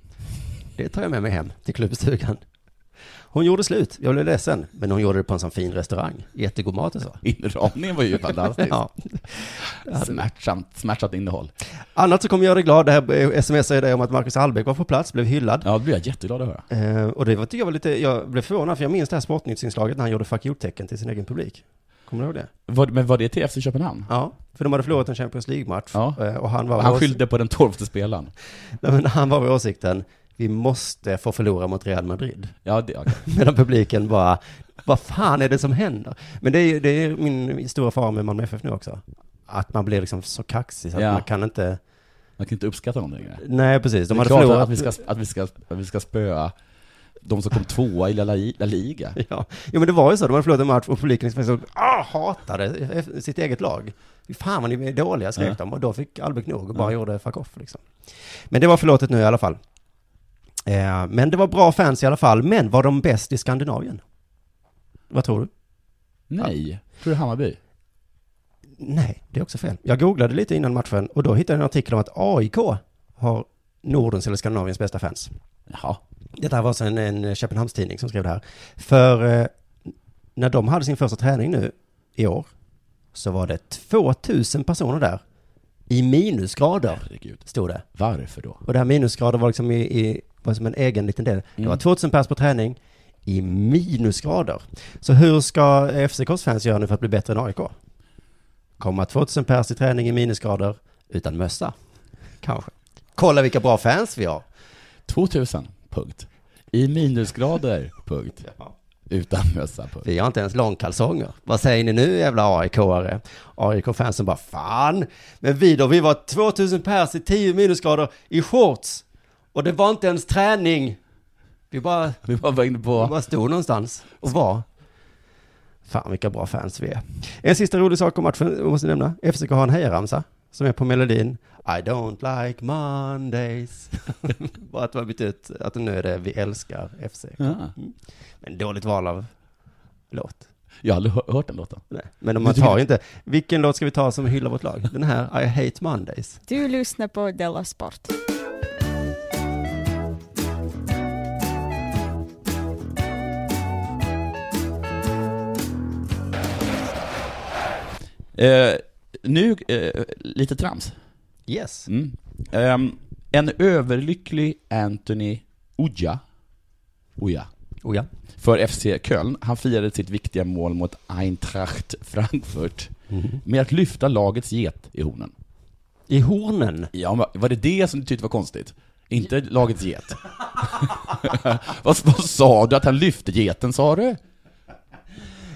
[SPEAKER 5] Det tar jag med mig hem till klubbstugan. Hon gjorde slut, jag blev ledsen, men hon gjorde det på en sån fin restaurang. Jättegod mat och så.
[SPEAKER 6] Inramningen var ju fantastisk.
[SPEAKER 5] ja.
[SPEAKER 6] Smärtsamt, smärtsamt innehåll.
[SPEAKER 5] Annat så kommer göra dig glad, det här eh, smsar jag dig om att Marcus Albeck var på plats, blev hyllad.
[SPEAKER 6] Ja, det blev jag jätteglad att höra.
[SPEAKER 5] Eh, och det var, tycker jag var lite, jag blev förvånad, för jag minns det här Sportnyttsinslaget när han gjorde fuck you-tecken till sin egen publik. Kommer du ihåg det?
[SPEAKER 6] Var, men var det till FC Köpenhamn?
[SPEAKER 5] Ja, för de hade förlorat en Champions League-match. eh, Och han var
[SPEAKER 6] Han
[SPEAKER 5] vår-
[SPEAKER 6] skyllde på den tolfte spelaren.
[SPEAKER 5] Nej, men han var vid åsikten, vi måste få förlora mot Real Madrid.
[SPEAKER 6] Ja, det, okay.
[SPEAKER 5] Medan publiken bara, vad fan är det som händer? Men det är, ju- det är min stora fara med Malmö FF nu också. Att man blir liksom så kaxig så att
[SPEAKER 6] Ja.
[SPEAKER 5] man kan inte...
[SPEAKER 6] Man kan inte uppskatta någonting. längre.
[SPEAKER 5] Nej, precis. De
[SPEAKER 6] det är
[SPEAKER 5] hade
[SPEAKER 6] klart
[SPEAKER 5] förlorat-
[SPEAKER 6] att vi, ska, att, vi ska, att vi ska spöa de som kom tvåa i La, La, La Liga.
[SPEAKER 5] Ja. Jo men det var ju så, de hade förlorat en match och publiken liksom så, ah, hatade F- sitt eget lag. Fy Fan vad ni är dåliga, skrek
[SPEAKER 6] Ja.
[SPEAKER 5] de. Och då fick Albeck nog och bara gjorde fuck off liksom. Men det var förlåtet nu i alla fall. Eh, men det var bra fans i alla fall, men var de bäst i Skandinavien? Vad tror du?
[SPEAKER 6] Nej. Tror du Hammarby?
[SPEAKER 5] Nej, det är också fel. Jag googlade lite innan matchen och då hittade jag en artikel om att AIK har Nordens eller Skandinaviens bästa fans.
[SPEAKER 6] Jaha.
[SPEAKER 5] Detta var alltså en, en Köpenhamnstidning som skrev det här. För eh, när de hade sin första träning nu i år så var det 2000 personer där i minusgrader, stod det.
[SPEAKER 6] Varför då?
[SPEAKER 5] Och det här minusgrader var liksom i, i var som en egen liten del. Det var
[SPEAKER 6] Mm.
[SPEAKER 5] 2000 pers på träning i minusgrader. Så hur ska FCKs fans göra nu för att bli bättre än AIK? Komma 2000 pers i träning i minusgrader utan mössa? Kanske. Kolla vilka bra fans vi har.
[SPEAKER 6] 2000, punkt. I minusgrader, punkt. Utan mössa, punkt.
[SPEAKER 5] Vi har inte ens långkalsonger. Vad säger ni nu jävla AIK-are? AIK-fansen bara fan. Men vi då, vi var 2000 pers i 10 minusgrader i shorts. Och det var inte ens träning. Vi bara,
[SPEAKER 6] vi bara, inne på...
[SPEAKER 5] vi bara stod någonstans och var. Fan vilka bra fans vi är. En sista rolig sak om matchen jag måste nämna. FCK har en hejaramsa som är på melodin I don't like Mondays. [laughs] bara att de har bytt ut att nu är det Vi älskar FC.
[SPEAKER 6] Ja.
[SPEAKER 5] Mm. Men dåligt val av låt.
[SPEAKER 6] Jag har aldrig hö- hört den låten.
[SPEAKER 5] Nej, Men om
[SPEAKER 6] Du
[SPEAKER 5] man
[SPEAKER 6] tycker-
[SPEAKER 5] tar ju inte, vilken låt ska vi ta som hyllar vårt lag? Den här, I hate Mondays.
[SPEAKER 2] Du lyssnar på Della Sport.
[SPEAKER 6] Eh, nu, eh, lite trams.
[SPEAKER 5] Yes.
[SPEAKER 6] Mm. Ehm, en överlycklig Anthony Oja. Oja.
[SPEAKER 5] Oja.
[SPEAKER 6] För FC Köln. Han firade sitt viktiga mål mot Eintracht Frankfurt med att lyfta lagets get i hornen.
[SPEAKER 5] I hornen?
[SPEAKER 6] Ja, men var det det som du tyckte var konstigt? Inte lagets get? vad, vad sa du att han lyfte geten, sa du?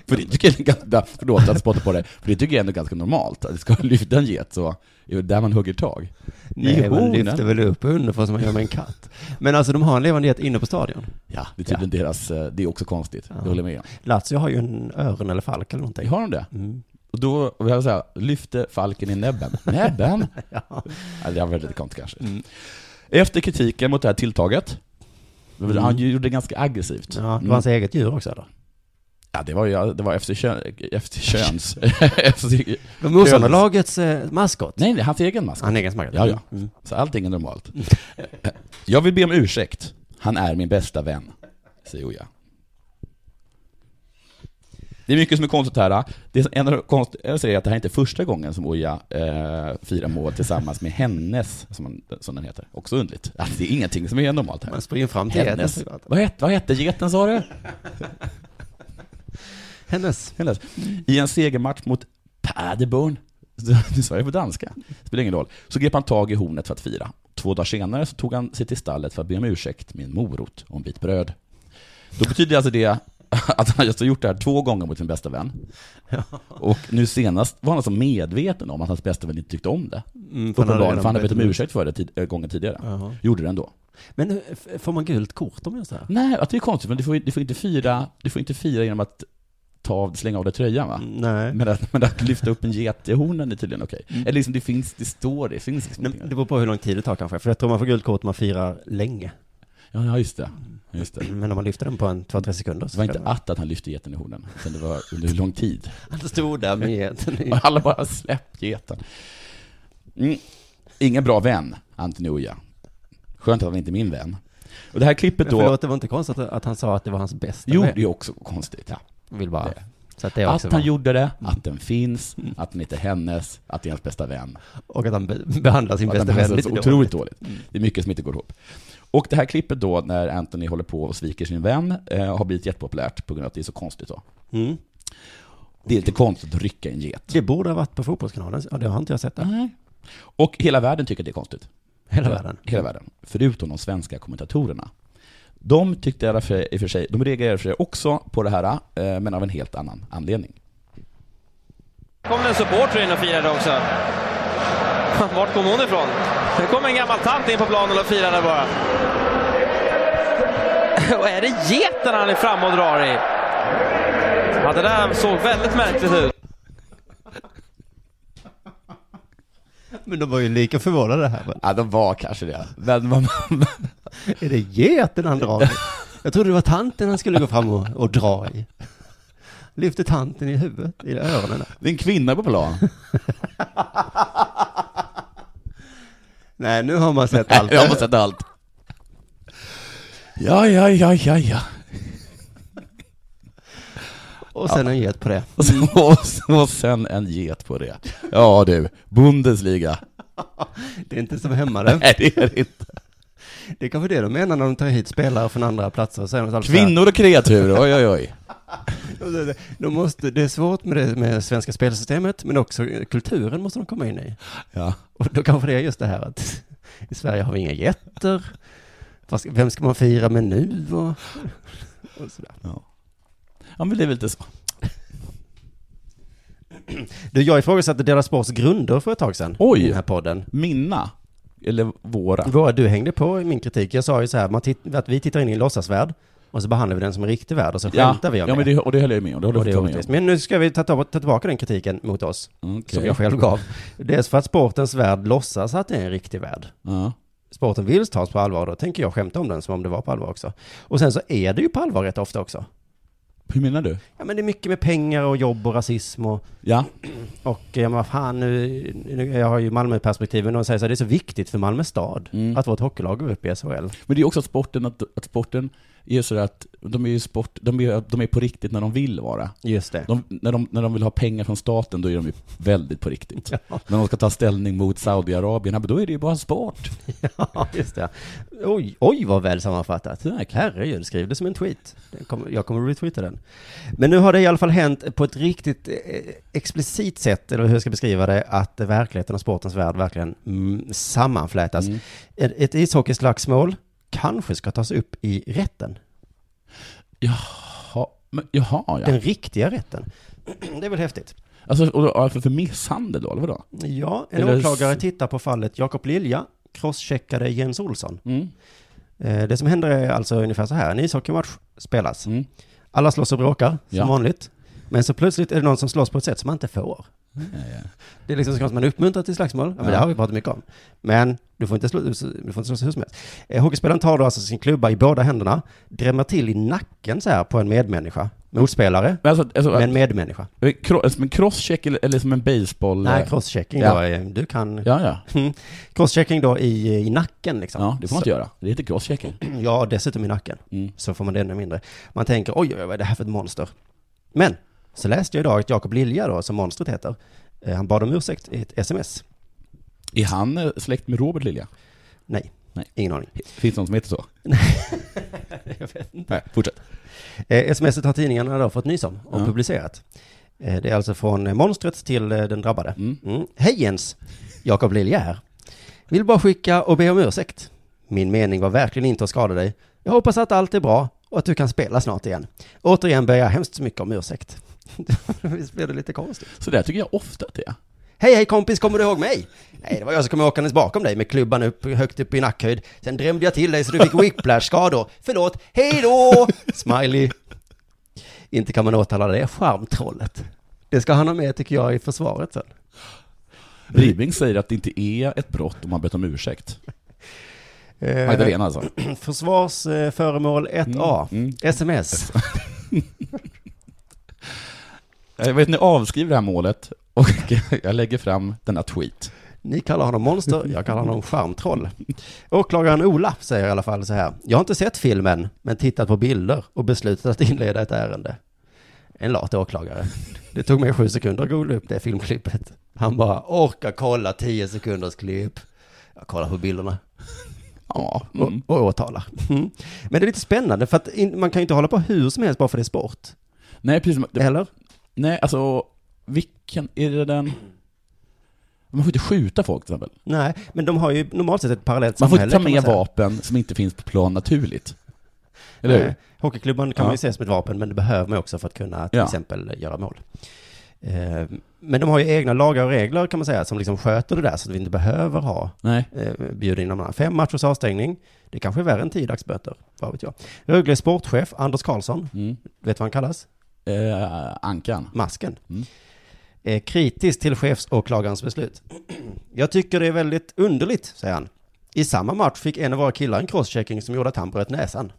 [SPEAKER 6] För det tycker jag är ganska, förlåt att jag spottar på det, för det tycker jag ändå är ganska normalt, att ska man lyfta en get så är det där man hugger tag.
[SPEAKER 5] Nej, man
[SPEAKER 6] hornen.
[SPEAKER 5] lyfter väl upp underifrån som man gör med en katt. Men alltså de har en levande get inne på stadion.
[SPEAKER 6] Ja, det är tydligen deras, eh, det är också konstigt, det håller jag med om.
[SPEAKER 5] Lazio har ju en öron eller falk eller någonting. Mm.
[SPEAKER 6] Har de det? Och då, vill jag säga, lyfte falken
[SPEAKER 5] [laughs]
[SPEAKER 6] i näbben. Näbben?
[SPEAKER 5] ja.
[SPEAKER 6] det var lite konstigt kanske. Mm. Efter kritiken mot det här tilltaget, han gjorde det ganska aggressivt.
[SPEAKER 5] Mm. Ja, det var
[SPEAKER 6] Mm.
[SPEAKER 5] hans eget djur också eller?
[SPEAKER 6] Ja, det var ju, det var FC, Kön, FC
[SPEAKER 5] [laughs]
[SPEAKER 6] Köns. FC
[SPEAKER 5] Det var motståndarlagets eh, maskot.
[SPEAKER 6] Nej, nej, hans egen maskot.
[SPEAKER 5] Han egen maskot. Mm.
[SPEAKER 6] Ja, ja. Så allting är normalt. Jag vill be om ursäkt. Han är min bästa vän, säger Oja. Det är mycket som är konstigt här. Det är en av de konst, jag säger att det här är inte första gången som Oja eh, firar mål tillsammans med hennes, som, man, som den heter. Också underligt. Alltså, det är ingenting som är normalt här. Man
[SPEAKER 5] springer fram till
[SPEAKER 6] hennes.
[SPEAKER 5] geten.
[SPEAKER 6] Vad hette, vad hette geten sa du?
[SPEAKER 5] hennes.
[SPEAKER 6] hennes. I en segermatch mot [laughs] Paderborn, nu sa jag på danska, spelar ingen roll, så grep han tag i hornet för att fira. Två dagar senare så tog han sig till stallet för att be om ursäkt med en morot och en bit bröd. Då betyder alltså det [laughs] att han just har gjort det här två gånger mot sin bästa vän. Och nu senast var han alltså medveten om att hans bästa vän inte tyckte om det.
[SPEAKER 5] Mm, för han hade
[SPEAKER 6] Uppenbarligen,
[SPEAKER 5] redan
[SPEAKER 6] för han hade bett
[SPEAKER 5] bett
[SPEAKER 6] om
[SPEAKER 5] om
[SPEAKER 6] ursäkt för det tid, äh, gången tidigare.
[SPEAKER 5] Jaha.
[SPEAKER 6] Gjorde det ändå.
[SPEAKER 5] Men eh, f- får man gult kort om jag gör så här?
[SPEAKER 6] Nej, att det är konstigt, men du får, du får, inte, fira, du får inte fira genom att ta av, slänga av dig tröjan va?
[SPEAKER 5] Mm, Nej.
[SPEAKER 6] Men att, men att lyfta upp en get i hornen är tydligen okej. Eller liksom det finns, det står, det finns liksom
[SPEAKER 5] Mm. Det beror på hur lång tid det tar kanske, för jag tror man får gult kort om man firar länge.
[SPEAKER 6] Ja, ja, just det. Just det.
[SPEAKER 5] Men om man lyfter den på en två, tre sekunder
[SPEAKER 6] Det var inte att, att han lyfte geten i hornen, utan det var under hur lång tid.
[SPEAKER 5] [laughs] Han stod där med geten i-
[SPEAKER 6] Och alla bara släpp geten. Mm. Ingen bra vän, Antoni Oja. Skönt att han inte är min vän. Och det här klippet då...
[SPEAKER 5] Förlåt, det var inte konstigt att att han sa att det var hans bästa
[SPEAKER 6] Jo,
[SPEAKER 5] vän.
[SPEAKER 6] det är också konstigt. Ja.
[SPEAKER 5] Vill bara... Så att det
[SPEAKER 6] Att
[SPEAKER 5] också Mm.
[SPEAKER 6] han
[SPEAKER 5] var...
[SPEAKER 6] gjorde det, att den finns, att den inte är hennes, att det är hans bästa vän.
[SPEAKER 5] Och att han be- behandlar sin
[SPEAKER 6] Och att han
[SPEAKER 5] bästa vän
[SPEAKER 6] behandlar
[SPEAKER 5] lite Mm.
[SPEAKER 6] så otroligt dåligt. Det är mycket som inte går ihop. Och det här klippet då, när Anthony håller på och sviker sin vän, eh, har blivit jättepopulärt på grund av att det är så konstigt då. Det är lite konstigt att rycka en get.
[SPEAKER 5] Mm. Det borde ha varit på Fotbollskanalen, ja, det har inte jag sett det.
[SPEAKER 6] Nej. Och hela världen tycker att det är konstigt.
[SPEAKER 5] Hela världen?
[SPEAKER 6] Hela världen. Förutom de svenska kommentatorerna. De tyckte i alla fall- i och för sig, de reagerade för sig också på det här, eh, men av en helt annan anledning.
[SPEAKER 12] kom det en supporter in och firade också. [laughs] Vart kom hon ifrån? Det kom en gammal tant in på planen och firade bara. [laughs] Och är det geten han är fram och drar i? Ja, det där såg väldigt märkligt ut.
[SPEAKER 5] Men de var ju lika förvånade här.
[SPEAKER 6] Ja, de var kanske det. Men man...
[SPEAKER 5] Är det geten han drar i? Jag trodde det var tanten han skulle gå fram och, och dra i. Lyfte tanten i huvudet, i öronen.
[SPEAKER 6] Det är en kvinna på plan.
[SPEAKER 5] Nej, nu har man sett allt.
[SPEAKER 6] Jag har sett allt. Ja, ja, ja, ja, ja.
[SPEAKER 5] Och sen
[SPEAKER 6] Ja.
[SPEAKER 5] en get på det. Mm.
[SPEAKER 6] Och sen, och, sen- och sen en get på det. Ja du, Bundesliga.
[SPEAKER 5] Det är inte som hemma det.
[SPEAKER 6] Nej, det är det inte.
[SPEAKER 5] Det är kanske det de menar när de tar hit spelare från andra platser och säger något alltid så här.
[SPEAKER 6] Kvinnor och kreatur, oj oj oj.
[SPEAKER 5] De måste, det är svårt med det med svenska spelsystemet, men också kulturen måste de komma in i.
[SPEAKER 6] Ja.
[SPEAKER 5] Och då kanske det är just det här att [laughs] i Sverige har vi inga jätter. Vad ska- Vem ska man fira med nu? Och, och sådär.
[SPEAKER 6] Ja. ja, men det är väl lite så.
[SPEAKER 5] Du, jag ifrågasatte Dela Sports grunder för ett tag sedan. Oj! Den här podden.
[SPEAKER 6] Mina? Eller våra?
[SPEAKER 5] Våra, du hängde på i min kritik. Jag sa ju så här, man titt, att vi tittar in i en låtsasvärld och så behandlar vi den som en riktig värld och så
[SPEAKER 6] Ja,
[SPEAKER 5] skämtar vi om
[SPEAKER 6] ja,
[SPEAKER 5] det.
[SPEAKER 6] men det, och det höll jag ju med om. Det håller
[SPEAKER 5] Och det är
[SPEAKER 6] jag med om.
[SPEAKER 5] orättvist. Men nu ska vi ta, ta, ta tillbaka den kritiken mot oss, som jag själv gav. Dels för att sportens värld låtsas att det är en riktig värld. Sporten vill tas på allvar, då tänker jag skämta om den som om det var på allvar också. Och sen så är det ju på allvar rätt ofta också.
[SPEAKER 6] Hur menar du?
[SPEAKER 5] Ja men det är mycket med pengar och jobb och rasism och...
[SPEAKER 6] Ja.
[SPEAKER 5] Och ja men vad fan nu, nu, jag har ju Malmöperspektiven och de säger så här, det är så viktigt för Malmö stad att vårt hockeylag går upp i SHL.
[SPEAKER 6] Men det är också att sporten, att, att sporten är så att de är ju sport, de är, de är på riktigt när de vill vara.
[SPEAKER 5] Just det.
[SPEAKER 6] De, när, de, när de vill ha pengar från staten, då är de ju väldigt på riktigt. När de ska ta ställning mot Saudiarabien, ja, men då är det ju bara sport.
[SPEAKER 5] Ja, just det. Oj, oj vad väl sammanfattat. Herregud, skriv det som en tweet. Den kommer- Jag kommer retweeta den. Men nu har det i alla fall hänt på ett riktigt eh, explicit sätt, eller hur jag ska beskriva det, att verkligheten och sportens värld verkligen mm, sammanflätas.
[SPEAKER 6] Mm.
[SPEAKER 5] Ett, ett ishockeyslagsmål kanske ska tas upp i rätten.
[SPEAKER 6] Jaha, men, jaha ja.
[SPEAKER 5] Den riktiga rätten. Det är väl häftigt.
[SPEAKER 6] Alltså, och, och, för, för misshandel då, eller vadå?
[SPEAKER 5] Ja, en
[SPEAKER 6] Eller-
[SPEAKER 5] åklagare tittar på fallet Jakob Lilja, crosscheckade Jens Olsson.
[SPEAKER 6] Mm.
[SPEAKER 5] Eh, Det som händer är alltså ungefär så här, en ishockeymatch spelas. Alla slåss och bråkar, som
[SPEAKER 6] Mm. Ja.
[SPEAKER 5] vanligt. Men så plötsligt är det någon som slåss på ett sätt som man inte får.
[SPEAKER 6] ja.
[SPEAKER 5] Det är liksom så konstigt, man uppmuntrar till slagsmål, ja, men
[SPEAKER 6] Ja.
[SPEAKER 5] det har vi pratat mycket om. Men du får inte slå, du får inte slåss hur som helst. Eh, Hockeyspelaren tar då alltså sin klubba i båda händerna, drämmer till i nacken så här på en medmänniska, motspelare,
[SPEAKER 6] Men, alltså, alltså,
[SPEAKER 5] men medmänniska.
[SPEAKER 6] eh, kro- alltså, men crosscheck eller, eller som en baseball...
[SPEAKER 5] Nej,
[SPEAKER 6] eh,
[SPEAKER 5] crosschecking
[SPEAKER 6] ja.
[SPEAKER 5] då, är- du kan...
[SPEAKER 6] Ja, ja.
[SPEAKER 5] Mm. [laughs] Crosschecking då i, i nacken liksom.
[SPEAKER 6] Ja, det får man inte göra. Det heter crosschecking.
[SPEAKER 5] [clears throat] Ja,
[SPEAKER 6] Mm.
[SPEAKER 5] dessutom i nacken. Så får man det ännu mindre. Man tänker, oj, oj, oj, vad är det här för ett monster? Men, Så läste jag idag att Jakob Lilja då, som monstret heter, eh, han bad om ursäkt i ett sms.
[SPEAKER 6] Är han eh, släkt med Robert Lilja?
[SPEAKER 5] Nej, ingen aning.
[SPEAKER 6] Finns det någon som heter så?
[SPEAKER 5] jag vet inte.
[SPEAKER 6] Nej, fortsätt.
[SPEAKER 5] Eh, smset har tidningarna då fått nys om och
[SPEAKER 6] Ja.
[SPEAKER 5] publicerat. Eh, det är alltså från eh, monstret till eh, den drabbade. Mm. Hej Jens! Jakob Lilja här. Vill bara skicka och be om ursäkt. Min mening var verkligen inte att skada dig. Jag hoppas att allt är bra och att du kan spela snart igen. Återigen ber jag hemskt mycket om ursäkt. Visst blev det lite konstigt?
[SPEAKER 6] Så där tycker jag ofta att det är.
[SPEAKER 5] Hej, hej kompis, kommer du ihåg mig? Nej, det var jag som kom åkandes bakom dig med klubban upp, högt upp i nackhöjd. Sen drömde jag till dig så du fick whiplash-skador. Förlåt, hej då! Smiley. Inte kan man åtala det charmtrollet. Det ska han ha med, tycker jag, i försvaret sen.
[SPEAKER 6] Ribbing säger att det inte är ett brott om man bett om ursäkt.
[SPEAKER 5] Eh,
[SPEAKER 6] Magdalena alltså.
[SPEAKER 5] Försvarsföremål 1A. SMS.
[SPEAKER 6] Jag vet, ni avskriver det här målet och jag lägger fram denna tweet.
[SPEAKER 5] Ni kallar honom monster, jag kallar honom charmtroll. Åklagaren Ola säger i alla fall så här. Jag har inte sett filmen, men tittat på bilder och beslutat att inleda ett ärende. En lat åklagare. Det tog mig sju sekunder att googla upp det filmklippet. Han bara, orkar kolla tio sekunders klipp. Jag kollar på bilderna. Ja, och, och åtalar. Mm. Men det är lite spännande, för att in, man kan ju inte hålla på hur som helst bara för det är sport.
[SPEAKER 6] Nej, precis.
[SPEAKER 5] Eller?
[SPEAKER 6] Nej, alltså vilken, är det den... Man får inte skjuta folk till exempel.
[SPEAKER 5] Nej, men de har ju normalt sett ett parallellt
[SPEAKER 6] Man får
[SPEAKER 5] samhälle.
[SPEAKER 6] inte ta
[SPEAKER 5] kan
[SPEAKER 6] med
[SPEAKER 5] säga.
[SPEAKER 6] vapen som inte finns på plan naturligt. Eller hur?
[SPEAKER 5] Nej, Hockeyklubban kan man ju
[SPEAKER 6] Ja.
[SPEAKER 5] se som ett vapen, men det behöver man också för att kunna till
[SPEAKER 6] Ja.
[SPEAKER 5] exempel göra mål. Eh, Men de har ju egna lagar och regler kan man säga, som liksom sköter det där så att vi inte behöver ha
[SPEAKER 6] Nej.
[SPEAKER 5] eh, bjuda in någon annan. Fem matchers avstängning, det kanske är värre än tio dagsböter, vad vet jag. Rögle sportchef Anders Karlsson, vet du vad han kallas?
[SPEAKER 6] ankan.
[SPEAKER 5] Masken. Eh, kritisk till chefsåklagarens beslut. Jag tycker det är väldigt underligt, säger han. I samma match fick en av våra killar en crosschecking som gjorde att han bröt näsan.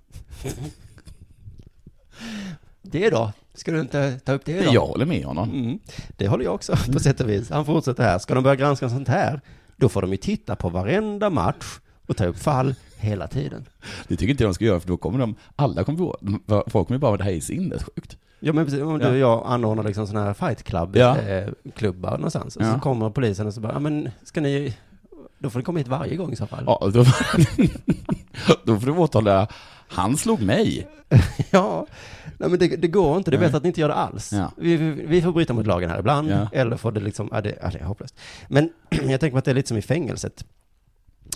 [SPEAKER 5] Det då? Ska du inte ta upp det då?
[SPEAKER 6] Jag håller med honom.
[SPEAKER 5] Mm. Det håller jag också på sätt och vis. Han fortsätter här. Ska de börja granska sånt här, då får de ju titta på varenda match och ta upp fall hela tiden.
[SPEAKER 6] Det tycker inte jag de ska göra, för då kommer de, alla kommer på, de- folk kommer ju bara, det här är sinnessjukt.
[SPEAKER 5] Ja men precis, om du
[SPEAKER 6] Ja.
[SPEAKER 5] och jag anordnar liksom sådana här fight club,
[SPEAKER 6] Ja.
[SPEAKER 5] eh, klubbar någonstans. Och
[SPEAKER 6] Ja.
[SPEAKER 5] så kommer polisen och så bara, ja men ska ni, då får ni komma hit varje gång i så fall.
[SPEAKER 6] Ja, då, då får du åtala, han slog mig.
[SPEAKER 5] ja. Nej men det, det går inte, det är
[SPEAKER 6] Nej.
[SPEAKER 5] bättre att ni inte gör det alls.
[SPEAKER 6] Ja.
[SPEAKER 5] Vi, vi, vi får bryta mot lagen här ibland,
[SPEAKER 6] Ja.
[SPEAKER 5] eller får det liksom, ja det, ja, det är hopplöst. Men jag tänker på att det är lite som i fängelset,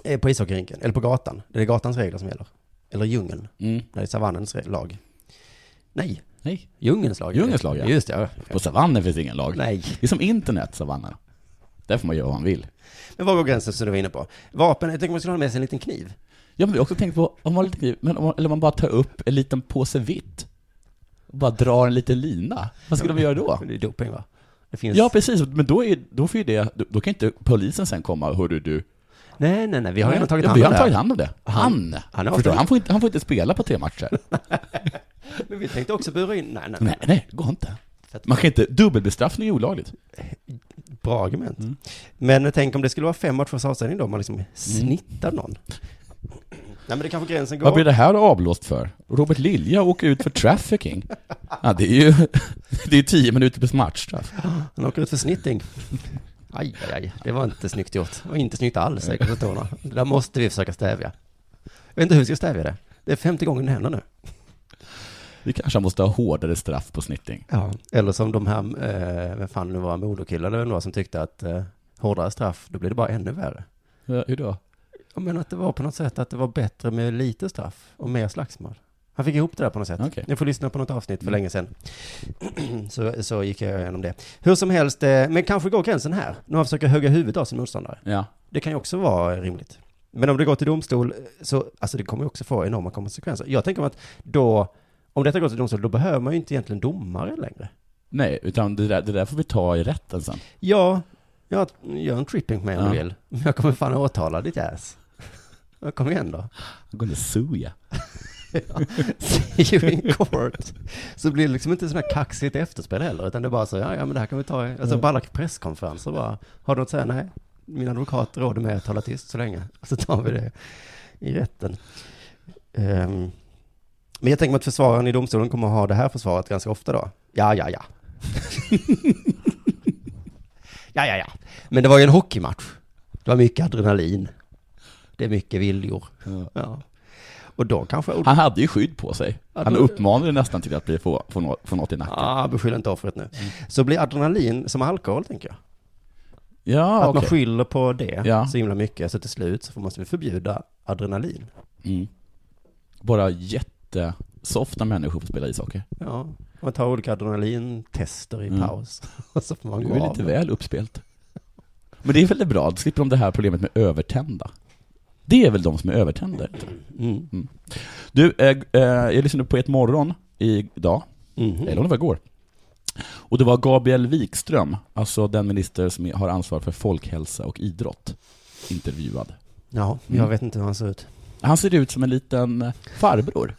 [SPEAKER 5] Eh, på ishockeyrinken, eller på gatan. Det är gatans regler som gäller. Eller djungeln,
[SPEAKER 6] Mm.
[SPEAKER 5] när det är savannens re- lag. Nej.
[SPEAKER 6] Nej.
[SPEAKER 5] Djungelns lag.
[SPEAKER 6] Djungelns lag, ja.
[SPEAKER 5] Just det,
[SPEAKER 6] På savannen finns ingen lag.
[SPEAKER 5] Nej.
[SPEAKER 6] Det är som internet, savannen. Där får man göra vad man vill.
[SPEAKER 5] Men var går gränsen som du var inne på? Vapen, jag tänker man skulle ha med sig en liten kniv.
[SPEAKER 6] Ja, men vi har också tänkt på, om man har lite kniv, men om man, eller om man bara tar upp en liten påse vitt och bara drar en liten lina. Vad skulle de göra då?
[SPEAKER 5] Det är doping va? Det finns...
[SPEAKER 6] Ja, precis. Men då, är, då får ju det, då, då kan inte polisen sen komma, hörru du.
[SPEAKER 5] Nej, nej, nej, vi har
[SPEAKER 6] Nej,
[SPEAKER 5] redan tagit
[SPEAKER 6] ja,
[SPEAKER 5] hand
[SPEAKER 6] vi
[SPEAKER 5] om
[SPEAKER 6] har
[SPEAKER 5] det här.
[SPEAKER 6] tagit hand om det. Han!
[SPEAKER 5] Han är
[SPEAKER 6] Förstår du?
[SPEAKER 5] avstängd.
[SPEAKER 6] han, får inte, han får inte spela på tre matcher.
[SPEAKER 5] [laughs] Men vi tänkte också bura in, nej, nej.
[SPEAKER 6] nej, nej, det går inte. Man kan inte, dubbelbestraffning är olagligt.
[SPEAKER 5] Bra argument.
[SPEAKER 6] Mm.
[SPEAKER 5] Men tänk om det skulle vara fem matchers avstängning då, om man liksom snittar någon. Nej men det kanske gränsen går.
[SPEAKER 6] Vad blir det här avblåst för? Robert Lilja åker ut för trafficking. Ja, det är ju det är ju tio minuters matchstraff.
[SPEAKER 5] Han åker ut för snitting. Aj, aj, aj. Det var inte snyggt gjort. Det var inte snyggt alls säkert för tårna. Det där måste vi försöka stävja. Jag vet inte hur vi ska stävja det. Det är femte gången det händer nu.
[SPEAKER 6] Vi kanske måste ha hårdare straff på snitting.
[SPEAKER 5] Ja. Eller som de här, eh, vem fan nu var, Modokillen eller vem det var som tyckte att eh, hårdare straff, då blir det bara ännu värre.
[SPEAKER 6] Ja, Hur då?
[SPEAKER 5] Jag menar att det var på något sätt att det var bättre med lite straff och mer slagsmål. Han fick ihop det där på något sätt.
[SPEAKER 6] Okej.
[SPEAKER 5] Ni får lyssna på något avsnitt för
[SPEAKER 6] Mm.
[SPEAKER 5] länge sedan. [clears throat] så, så gick jag igenom det. Hur som helst, eh, men kanske går gränsen här. När man försöker hugga huvudet av sin motståndare.
[SPEAKER 6] Ja.
[SPEAKER 5] Det kan ju också vara rimligt. Men om det går till domstol, så alltså det kommer ju också få enorma konsekvenser. Jag tänker mig att då, om detta går till domstol, då behöver man ju inte egentligen domare längre.
[SPEAKER 6] Nej, utan det där, det där får vi ta i rätten sen.
[SPEAKER 5] Ja, jag gör en tripping med om du
[SPEAKER 6] Ja.
[SPEAKER 5] vill. Men jag kommer fan åtala ditt ass. Ja, Kom igen då.
[SPEAKER 6] I'm gonna sue ya.
[SPEAKER 5] See you in court. Så blir det liksom inte sådana här kaxigt efterspel heller, utan det är bara så, ja, ja men det här kan vi ta i, alltså
[SPEAKER 6] Ja.
[SPEAKER 5] på alla presskonferenser bara, har du något att säga? Nej, min advokat råder mig att hålla tyst så länge, så tar vi det i rätten. Ehm, men jag tänker mig att försvararen i domstolen kommer att ha det här försvaret ganska ofta då. Ja, ja, ja.
[SPEAKER 2] ja, ja, ja. Men det var ju en hockeymatch. Det var mycket adrenalin. Det är mycket viljor. Ja. Och då kanske...
[SPEAKER 6] Han hade ju skydd på sig.
[SPEAKER 2] Ja,
[SPEAKER 6] Han
[SPEAKER 2] då-
[SPEAKER 6] uppmanade nästan till att bli få, få, nå- få något i nacken.
[SPEAKER 2] Ah, beskyll inte offret nu. Så blir adrenalin som alkohol, tänker jag.
[SPEAKER 6] Ja,
[SPEAKER 2] att man
[SPEAKER 6] okej.
[SPEAKER 2] skyller på det
[SPEAKER 6] Ja.
[SPEAKER 2] så himla mycket, så till slut så måste vi förbjuda adrenalin.
[SPEAKER 6] Mm. Bara jättesofta människor får spela ishockey.
[SPEAKER 2] Ja, man tar olika adrenalintester i
[SPEAKER 6] Mm.
[SPEAKER 2] paus. [laughs] Och så får man
[SPEAKER 6] Du
[SPEAKER 2] gå
[SPEAKER 6] är
[SPEAKER 2] av
[SPEAKER 6] lite
[SPEAKER 2] med-
[SPEAKER 6] väl uppspelt. Men det är väl det bra, då slipper de det här problemet med övertända. Det är väl de som är övertänder. Mm. Du, eh, eh, jag lyssnade på ett morgon idag,
[SPEAKER 2] Mhm.
[SPEAKER 6] eller om det var igår. Och det var Gabriel Wikström, alltså den minister som har ansvar för folkhälsa och idrott, intervjuad.
[SPEAKER 2] Ja, jag
[SPEAKER 6] Mm.
[SPEAKER 2] vet inte hur han ser ut.
[SPEAKER 6] Han ser ut som en liten farbror.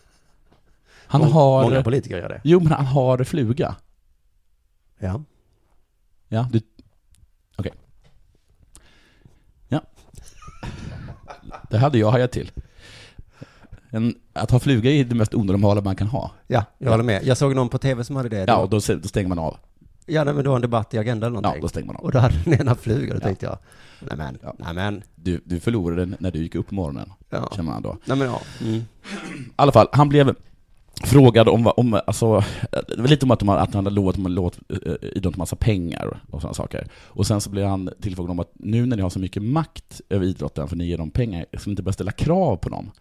[SPEAKER 6] Han
[SPEAKER 2] Mång-
[SPEAKER 6] har...
[SPEAKER 2] många politiker gör det.
[SPEAKER 6] Jo, men han har fluga.
[SPEAKER 2] Ja.
[SPEAKER 6] Ja, du... Okej. Ja. Det hade jag hajat till. En, att ha fluga är det mest onormala man kan ha.
[SPEAKER 2] Ja, jag håller med. Jag såg någon på tv som hade det.
[SPEAKER 6] Ja, och då, ser- då stänger man av.
[SPEAKER 2] Ja, nej, men det var en debatt i Agenda eller någonting.
[SPEAKER 6] Ja, då stänger man av.
[SPEAKER 2] Och då hade den ena flugan, då tänkte jag, nej men, nej men.
[SPEAKER 6] Du, du förlorade den när du gick upp på morgonen, känner man då.
[SPEAKER 2] Nej men ja. Mm.
[SPEAKER 6] I alla fall, han blev frågad om, vad- om alltså, det var lite om att, de, att han hade lovat, lovat eh, idrotten massa pengar och sådana saker. Och sen så blev han tillfrågad om att nu när ni har så mycket makt över idrotten, för ni ger dem pengar, ska ni inte börja ställa krav på dem?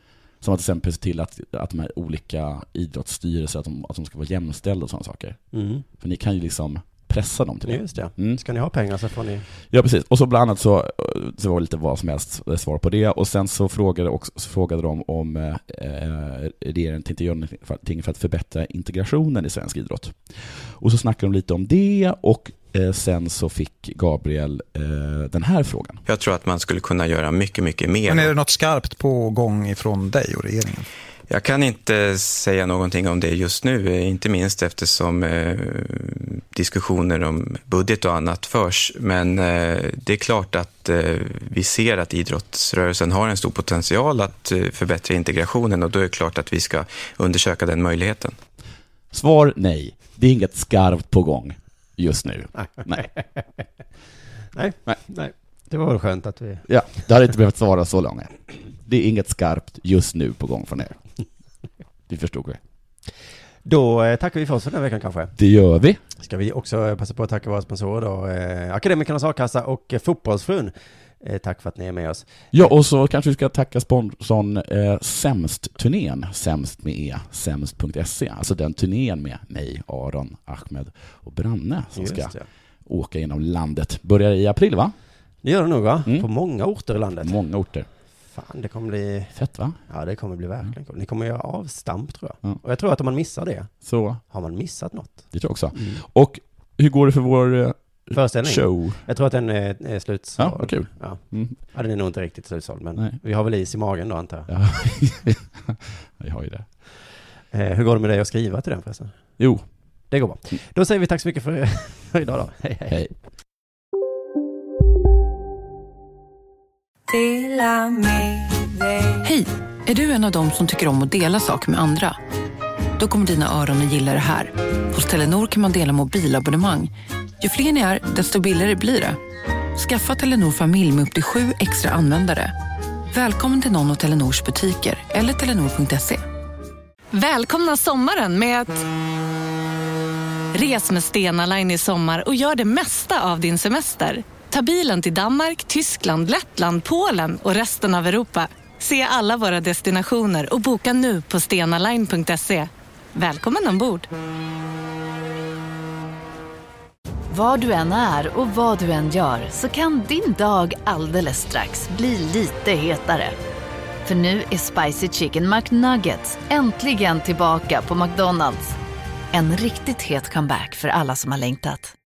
[SPEAKER 6] Som att till exempel se till att, att de här olika idrottsstyrelser, att de, att de ska vara jämställda och sådana saker.
[SPEAKER 2] Mm.
[SPEAKER 6] För ni kan ju liksom pressa dem till det.
[SPEAKER 2] Just det.
[SPEAKER 6] Mm.
[SPEAKER 2] Ska ni ha pengar så får ni...
[SPEAKER 6] Ja, precis. Och så bland annat så, så var det lite vad som helst svar på det. Och sen så frågade, också, så frågade de om eh, eh, regeringen tänkte göra någonting för att förbättra integrationen i svensk idrott. Och så snackade de lite om det och eh, sen så fick Gabriel eh, den här frågan.
[SPEAKER 8] Jag tror att man skulle kunna göra mycket, mycket mer.
[SPEAKER 13] Men är det något skarpt på gång ifrån dig och regeringen?
[SPEAKER 8] Jag kan inte säga någonting om det just nu, eh, inte minst eftersom eh, diskussioner om budget och annat förs. Men eh, det är klart att eh, vi ser att idrottsrörelsen har en stor potential att eh, förbättra integrationen och då är det klart att vi ska undersöka den möjligheten.
[SPEAKER 6] Svar nej. Det är inget skarpt på gång just nu. Nej.
[SPEAKER 2] Nej.
[SPEAKER 6] Nej.
[SPEAKER 2] nej. Det var väl skönt att vi...
[SPEAKER 6] Ja, det hade inte behövt svara så länge. Det är inget skarpt just nu på gång från er. Det förstod vi.
[SPEAKER 2] Då eh, tackar vi för oss för den här veckan kanske.
[SPEAKER 6] Det gör vi.
[SPEAKER 2] Ska vi också eh, passa på att tacka våra sponsorer då, eh, Akademikernas A-kassa och eh, Fotbollsfrun. Eh, tack för att ni är med oss.
[SPEAKER 6] Ja, och så kanske vi ska tacka sponsorn eh, Sämst-turnén, Sämst med E, Sämst.se, alltså den turnén med mig, Aron, Ahmed och Branne som
[SPEAKER 2] Just
[SPEAKER 6] ska
[SPEAKER 2] det.
[SPEAKER 6] åka genom landet. Börjar i april, va?
[SPEAKER 2] Det gör det nog va? På många orter i landet.
[SPEAKER 6] Många orter.
[SPEAKER 2] Fan, det kommer bli...
[SPEAKER 6] Fett va?
[SPEAKER 2] Ja, det kommer bli verkligen kul. Ni kommer göra avstamp tror jag.
[SPEAKER 6] Ja.
[SPEAKER 2] Och jag tror att om man missar det,
[SPEAKER 6] Så,
[SPEAKER 2] har man missat något.
[SPEAKER 6] det tror jag också. Och hur går det för vår eh,
[SPEAKER 2] Föreställning.
[SPEAKER 6] show?
[SPEAKER 2] Jag tror att den är, är slutsåld.
[SPEAKER 6] Ja, vad kul.
[SPEAKER 2] Ja.
[SPEAKER 6] Mm.
[SPEAKER 2] ja, den är nog inte riktigt slutsåld, men
[SPEAKER 6] Nej.
[SPEAKER 2] vi har väl is i magen då antar jag.
[SPEAKER 6] Ja, [laughs] vi har ju det.
[SPEAKER 2] Eh, hur går det med dig att skriva till den förresten?
[SPEAKER 6] Jo.
[SPEAKER 2] Det går bra. Då säger vi tack så mycket för, [laughs] för idag då. Hej, hej.
[SPEAKER 6] hej.
[SPEAKER 14] Hej! Är du en av dem som tycker om att dela saker med andra? Då kommer dina öron att gilla det här. Hos Telenor kan man dela mobilabonnemang. Ju fler ni är, desto billigare blir det. Skaffa Telenor familj med upp till sju extra användare. Välkommen till någon av Telenors butiker eller telenor.se.
[SPEAKER 15] Välkomna sommaren med att... Res med Stena Line i sommar och gör det mesta av din semester. Ta bilen till Danmark, Tyskland, Lettland, Polen och resten av Europa. Se alla våra destinationer och boka nu på stenaline.se. Välkommen ombord!
[SPEAKER 5] Var du än är och vad du än gör så kan din dag alldeles strax bli lite hetare. För nu är Spicy Chicken McNuggets äntligen tillbaka på McDonalds. En riktigt het comeback för alla som har längtat.